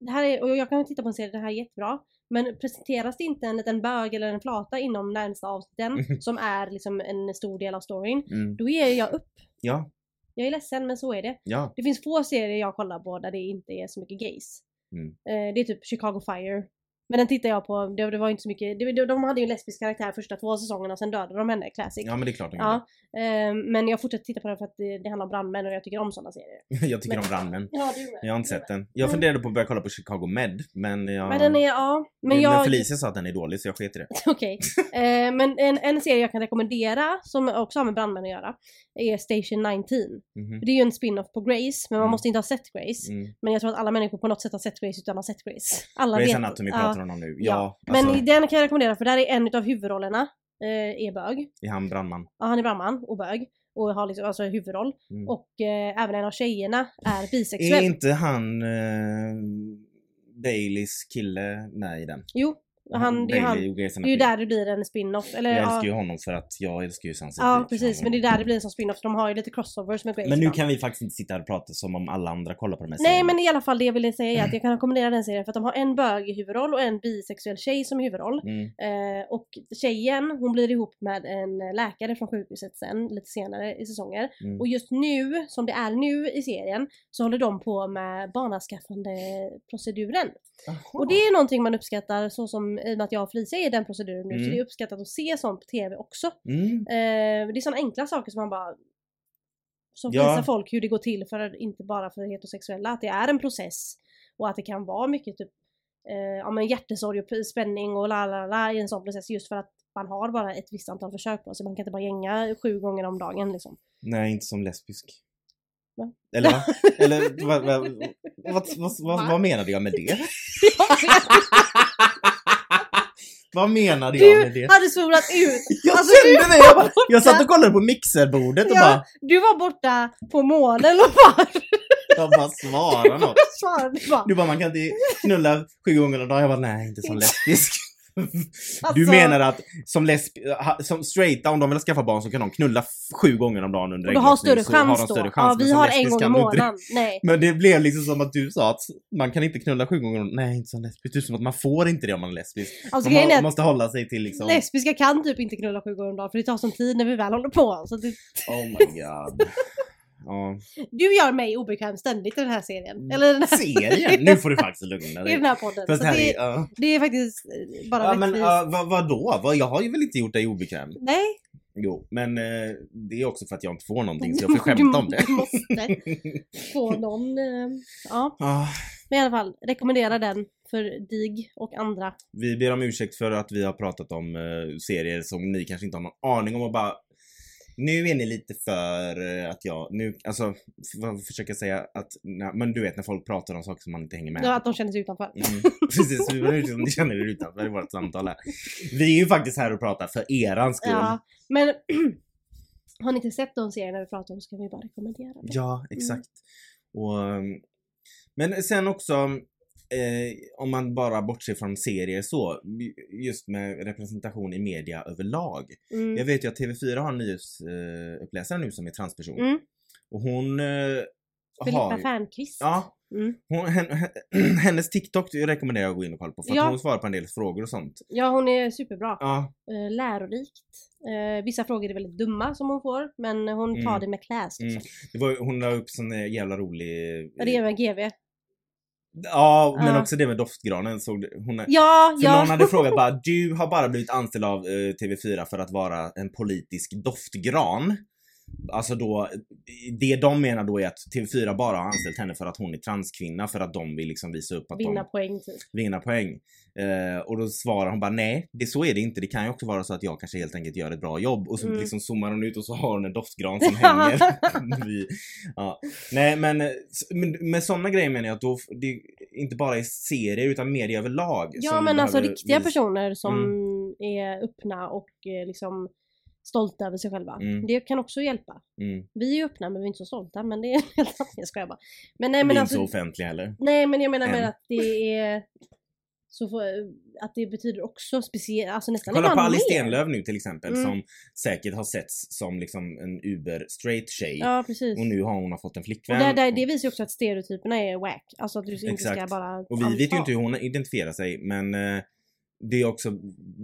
A: det här är, och jag kan titta på en serie, det här är jättebra. Men presenteras det inte en liten bög eller en flata inom närmsta avsnitten som är liksom en stor del av storyn,
B: Mm.
A: då ger jag upp.
B: Ja,
A: Jag är ledsen men så är det.
B: ja.
A: Det finns få serier jag kollar på där det inte är så mycket gays.
B: Mm.
A: Eh, det är typ Chicago Fire. Men den tittar jag på, det, det var inte så mycket, det, det- de hade ju en lesbisk karaktär första två säsongerna, sen dödade de henne, classic.
B: Ja men det är klart de
A: Ja, eh, men jag fortsätter titta på den för att det, det handlar om brandmän och jag tycker om sådana serier.
B: gör det. Jag tycker
A: Men-
B: om brandmän.
A: Ja, du
B: Jag har inte sett den. Jag
A: Mm.
B: funderade på att börja kolla på Chicago Med men jag...
A: Men den är, ja. Men jag...
B: Felicia sa att den är dålig så jag sket i det.
A: Okej. Eh, men en, en serie jag kan rekommendera, som också har med brandmän att göra, är Station 19.
B: Mhm.
A: Det är ju en spin-off på Grace, men man
B: Mm.
A: måste inte ha sett Grace.
B: Mm.
A: Men jag tror att alla människor på något sätt har sett Grace utan att ha sett Grace. Alla
B: Grey's
A: vet.
B: Anatomy
A: ja.
B: pratar hon om nu. Ja,
A: Ja.
B: alltså,
A: Men den kan jag rekommendera för där är en av huvudrollerna eh, är bög.
B: är han brandman?
A: Ja, han är brandman och bög. Och har liksom, alltså huvudroll.
B: Mm.
A: Och eh, även en av tjejerna är
B: Är
A: bisexuell.
B: inte han eh, Baileys kille med i den?
A: Jo, han, det är ju han.
B: Bailey och Grey's
A: Det är ju
B: Anatomy.
A: där det blir en spin-off. Eller,
B: Jag
A: ja,
B: älskar ju honom för att jag älskar ju Sunset
A: ja,
B: Beach.
A: precis. Men det är där det blir en sån spin-off. De har ju lite crossovers med Grace.
B: Men nu
A: ibland.
B: kan vi faktiskt inte sitta här och prata som om alla andra kollar på de
A: Nej
B: här serierna.
A: men i alla fall det jag ville säga är att jag kan rekommendera den serien för att de har en bög i huvudroll och en bisexuell tjej som huvudroll.
B: Mm.
A: Eh, och tjejen hon blir ihop med en läkare från sjukhuset sen lite senare i säsonger.
B: Mm.
A: Och just nu, som det är nu i serien, så håller de på med barnaskaffande proceduren. Och det är någonting man uppskattar så som, i och med att jag och Felicia är i den proceduren nu, så
B: Mm.
A: det är uppskattat att se sånt på TV också.
B: Mm.
A: Eh, det är sådana enkla saker som man bara som
B: Ja.
A: visar folk hur det går till för inte bara för heterosexuella, att det är en process och att det kan vara mycket typ eh, ja, men hjärtesorg och p- spänning och la la la i en sån process just för att man har bara ett visst antal försök på sig. Man kan inte bara gänga sju gånger om dagen liksom.
B: Nej, inte som lesbisk.
A: Va?
B: Eller va? Eller va, va, vad, vad, vad,
A: Va?
B: vad menade jag med det? vad menade jag med
A: Du
B: det?
A: hade svorat ut!
B: Jag
A: alltså,
B: kände det! Jag, bara- jag satt och kollade på mixerbordet och
A: Ja.
B: bara,
A: Du var borta på månen och bara
B: jag bara svarade något.
A: svarade bara.
B: Du bara, man kan inte knulla sju gånger om dagen. Jag bara, nej inte som
A: Inte-
B: lesbisk. Du
A: Alltså-
B: menar att som, lesb ha- som straighta, om de vill skaffa barn så kan de knulla f- sju gånger om dagen under
A: Och du har
B: ägglossning,
A: större
B: så har de
A: chans då.
B: större chans,
A: ja,
B: men
A: vi
B: som
A: har en
B: lesbisk
A: gång i
B: kan du inte det.
A: månaden. Nej.
B: Men det blev liksom som att du sa att man kan inte knulla sju gånger om Nej, inte som lesbisk. Det är som att man får inte det om man är lesbisk.
A: Alltså,
B: man,
A: grejen
B: må-
A: är att
B: måste hålla sig till liksom...
A: Lesbiska kan typ inte knulla sju gånger om dagen för det tar sån tid när vi väl håller på. Så det,
B: Oh my god. Ja.
A: du gör mig obekväm ständigt i den här serien. Eller den här,
B: Serien? Nu får du faktiskt lugna
A: i den
B: Mm. dig.
A: här podden.
B: Fast
A: Så
B: här
A: det,
B: är... ja.
A: det är faktiskt eh, bara
B: Ja men
A: rättvist.
B: uh, vad, vadå? Vad, jag har ju väl inte gjort dig obekväm?
A: Nej.
B: Jo, men eh, det är också för att jag inte får någonting så jag får skämta om det.
A: Du måste få någon. eh, Ja.
B: Ah,
A: Men i alla fall, rekommendera den för dig och andra.
B: vi ber om ursäkt för att vi har pratat om eh, serier som ni kanske inte har någon aning om och bara nu är ni lite för eh, att jag, nu, alltså, f- vad försöker jag säga att, na, men du vet när folk pratar om saker som man inte hänger med
A: Ja, att de känner sig utanför.
B: Mm, precis, vi var ute som ni känner er utanför i vårt samtal här. Vi är ju faktiskt här och pratar för eran skull.
A: Ja. Men har ni inte sett de serierna vi pratar om så kan vi bara rekommendera dem.
B: Ja, exakt. Och, um, men sen också, eh, om man bara bortser från serier så, just med representation i media överlag. Jag
A: Mm.
B: vet ju att TV4 har en nyhetsuppläsare nu som är transperson.
A: Mm.
B: Och hon eh,
A: Filippa
B: har...
A: Fernqvist.
B: Ja.
A: Mm.
B: Hon, hen- hennes TikTok rekommenderar jag att gå in och kolla på för att
A: Ja.
B: hon svarar på en del frågor och sånt.
A: ja, hon är superbra.
B: Ja,
A: eh, lärorikt. Eh, vissa frågor är väldigt dumma som hon får, men hon tar
B: Mm.
A: det med class. Liksom.
B: Mm. det var, ju- hon la upp sån eh, jävla rolig... eh,
A: Ja, Det är med GV.
B: Ja, men
A: Ja.
B: också det med doftgranen. Såg du, hon,
A: Ja,
B: För någon
A: ja.
B: hade frågat bara, du har bara blivit anställd av eh, TV4 för att vara en politisk doftgran. Alltså då, det de menar då är att TV4 bara har anställt henne för att hon är transkvinna för att de vill liksom visa upp att
A: Vinna
B: de
A: poäng typ.
B: vinner poäng. Eh, och då svarar hon bara nej, det så är det inte. Det kan ju också vara så att jag kanske helt enkelt gör ett bra jobb. Och så
A: Mm.
B: liksom zoomar hon ut och så har hon en doftgran som hänger. vid- ja. Nej men, eh, s- men med sådana grejer menar jag att då, f- det är inte bara i serier utan media överlag.
A: Ja
B: som Mm.
A: men alltså
B: behöver
A: riktiga
B: vis-
A: personer som är öppna och eh, liksom stolta över sig själva.
B: Mm.
A: Det kan också hjälpa.
B: Mm.
A: Vi är ju öppna men vi är inte så stolta men det är en helt annan, jag skojar bara. Men nej
B: vi
A: men
B: är
A: alltså,
B: inte så offentliga heller.
A: nej men jag menar
B: Än.
A: med att det är så får, att det betyder också speciellt, alltså nästan
B: Kolla på
A: ibland
B: Alice
A: mer.
B: Stenlöf nu till exempel
A: Mm.
B: som säkert har setts som liksom en uber straight tjej
A: Ja precis.
B: och nu har hon fått en
A: Och
B: flickvän.
A: där, där, det visar ju också att stereotyperna är whack. Alltså att du inte ska
B: Exakt.
A: bara...
B: Och vi vet ju
A: anta.
B: inte hur hon identifierar sig men eh, det är också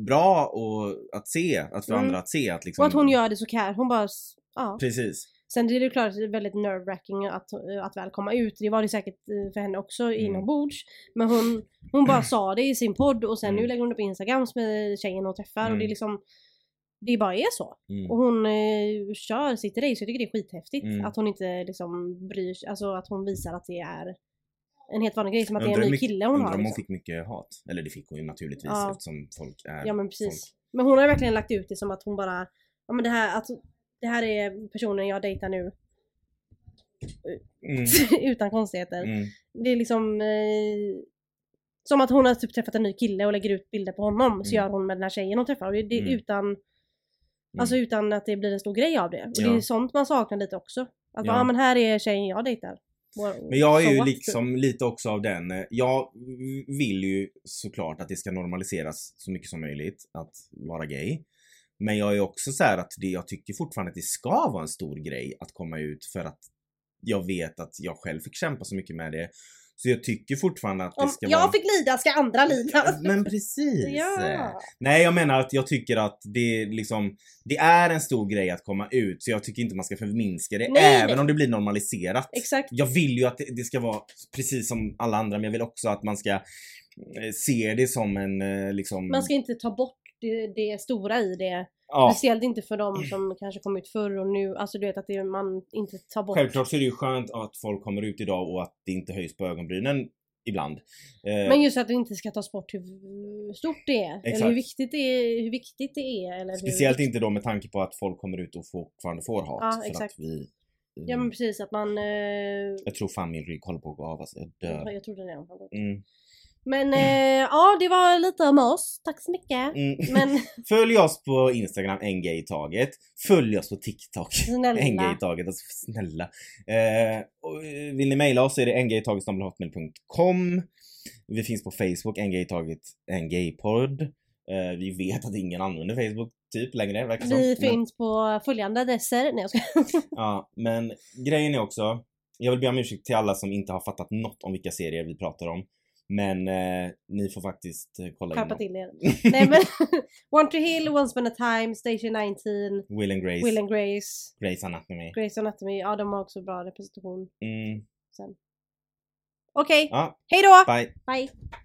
B: bra och att se, att för
A: Mm.
B: andra att se att liksom...
A: Och att hon gör det så här. Hon bara... s- Ja.
B: Precis.
A: Sen är det ju klart att det är väldigt nerve-wracking att, att väl komma ut. Det var det säkert eh, för henne också
B: Mm.
A: inombords. Men hon, hon bara sa det i sin podd och sen
B: Mm.
A: nu lägger hon det på Instagrams med tjejen hon träffar och det
B: Mm.
A: är liksom det bara är så.
B: Mm.
A: Och hon eh, kör sitt race. Jag tycker det är skithäftigt
B: Mm.
A: att hon inte liksom bryr sig, alltså att hon visar att det är en helt vanlig grej, som att det är
B: Undrar
A: en
B: hur
A: ny
B: mycket-
A: kille hon
B: undrar
A: har.
B: om hon
A: Liksom.
B: fick mycket hat. Eller det fick hon ju naturligtvis
A: Ja.
B: eftersom folk är...
A: Ja men precis. Men hon har verkligen lagt ut det som att hon bara, ja men det här, att, det här är personen jag dejtar nu.
B: Mm.
A: Utan konstigheter.
B: Mm.
A: Det är liksom eh, som att hon har typ träffat en ny kille och lägger ut bilder på honom. Så
B: Mm.
A: gör hon med den här tjejen hon träffar. Och det, det är
B: Mm.
A: utan, alltså utan att det blir en stor grej av det. Och det
B: Ja.
A: är sånt man saknar lite också. Att bara,
B: Ja.
A: ja. men här är tjejen jag dejtar. Wow.
B: Men jag är
A: So
B: ju
A: what?
B: liksom lite också av den, eh, jag vill ju såklart att det ska normaliseras så mycket som möjligt att vara gay. Men jag är också så här att det, jag tycker fortfarande att det ska vara en stor grej att komma ut för att jag vet att jag själv fick kämpa så mycket med det. Så jag tycker fortfarande att det
A: Om
B: ska vara... Eh,
A: jag fick lida ska andra lida.
B: Men precis!
A: Ja.
B: Nej jag menar att jag tycker att det är liksom, det är en stor grej att komma ut så jag tycker inte man ska förminska det
A: Nej,
B: även
A: nej.
B: om det blir normaliserat.
A: Exakt.
B: Jag vill ju att det, det ska vara precis som alla andra men jag vill också att man ska eh, se det som en eh, liksom...
A: Man ska inte ta bort det, det stora i det.
B: ja, Mm.
A: Speciellt inte för de som kanske kom ut förr och nu. Alltså du vet att det, man inte tar bort.
B: självklart så är det ju skönt att folk kommer ut idag och att det inte höjs på ögonbrynen ibland. Eh,
A: Men just att det inte ska tas bort hur stort det är. Eller
B: Exakt.
A: hur viktigt det är. Hur viktigt det är eller
B: speciellt
A: hur...
B: inte då med tanke på att folk kommer ut och fortfarande får hat.
A: Ja,
B: för
A: exakt.
B: att vi... eh,
A: Ja men precis att man... Eh,
B: Jag tror fan min rygg håller på att gå av alltså, jag dör.
A: jag trodde det. var-
B: Mm.
A: Men eh, ja det var lite om oss. Tack så mycket.
B: Mm.
A: Men
B: Följ oss på Instagram, en gay i taget. Följ oss på TikTok.
A: Snälla.
B: En gay i taget, alltså snälla. Eh, och, eh, vill ni mejla oss så är det engaytaget.com. Vi finns på Facebook, en gay i taget, en gaypodd. Eh, vi vet att ingen använder Facebook typ längre verkar som.
A: vi
B: Men-
A: finns på följande adresser. Nej jag ska...
B: Ja, men grejen är också, jag vill be om ursäkt till alla som inte har fattat något om vilka serier vi pratar om. Men eh, ni får faktiskt eh, kolla in
A: Skärpa
B: dem.
A: till er. Nej men One Tree Hill, Once Upon a Time, Station 19,
B: Will and Grace,
A: Will and Grace,
B: Grace Anatomy.
A: Grace Anatomy. Ja de har också bra representation.
B: Mm,
A: Okej,
B: ja,
A: hejdå!
B: bye.
A: Bye!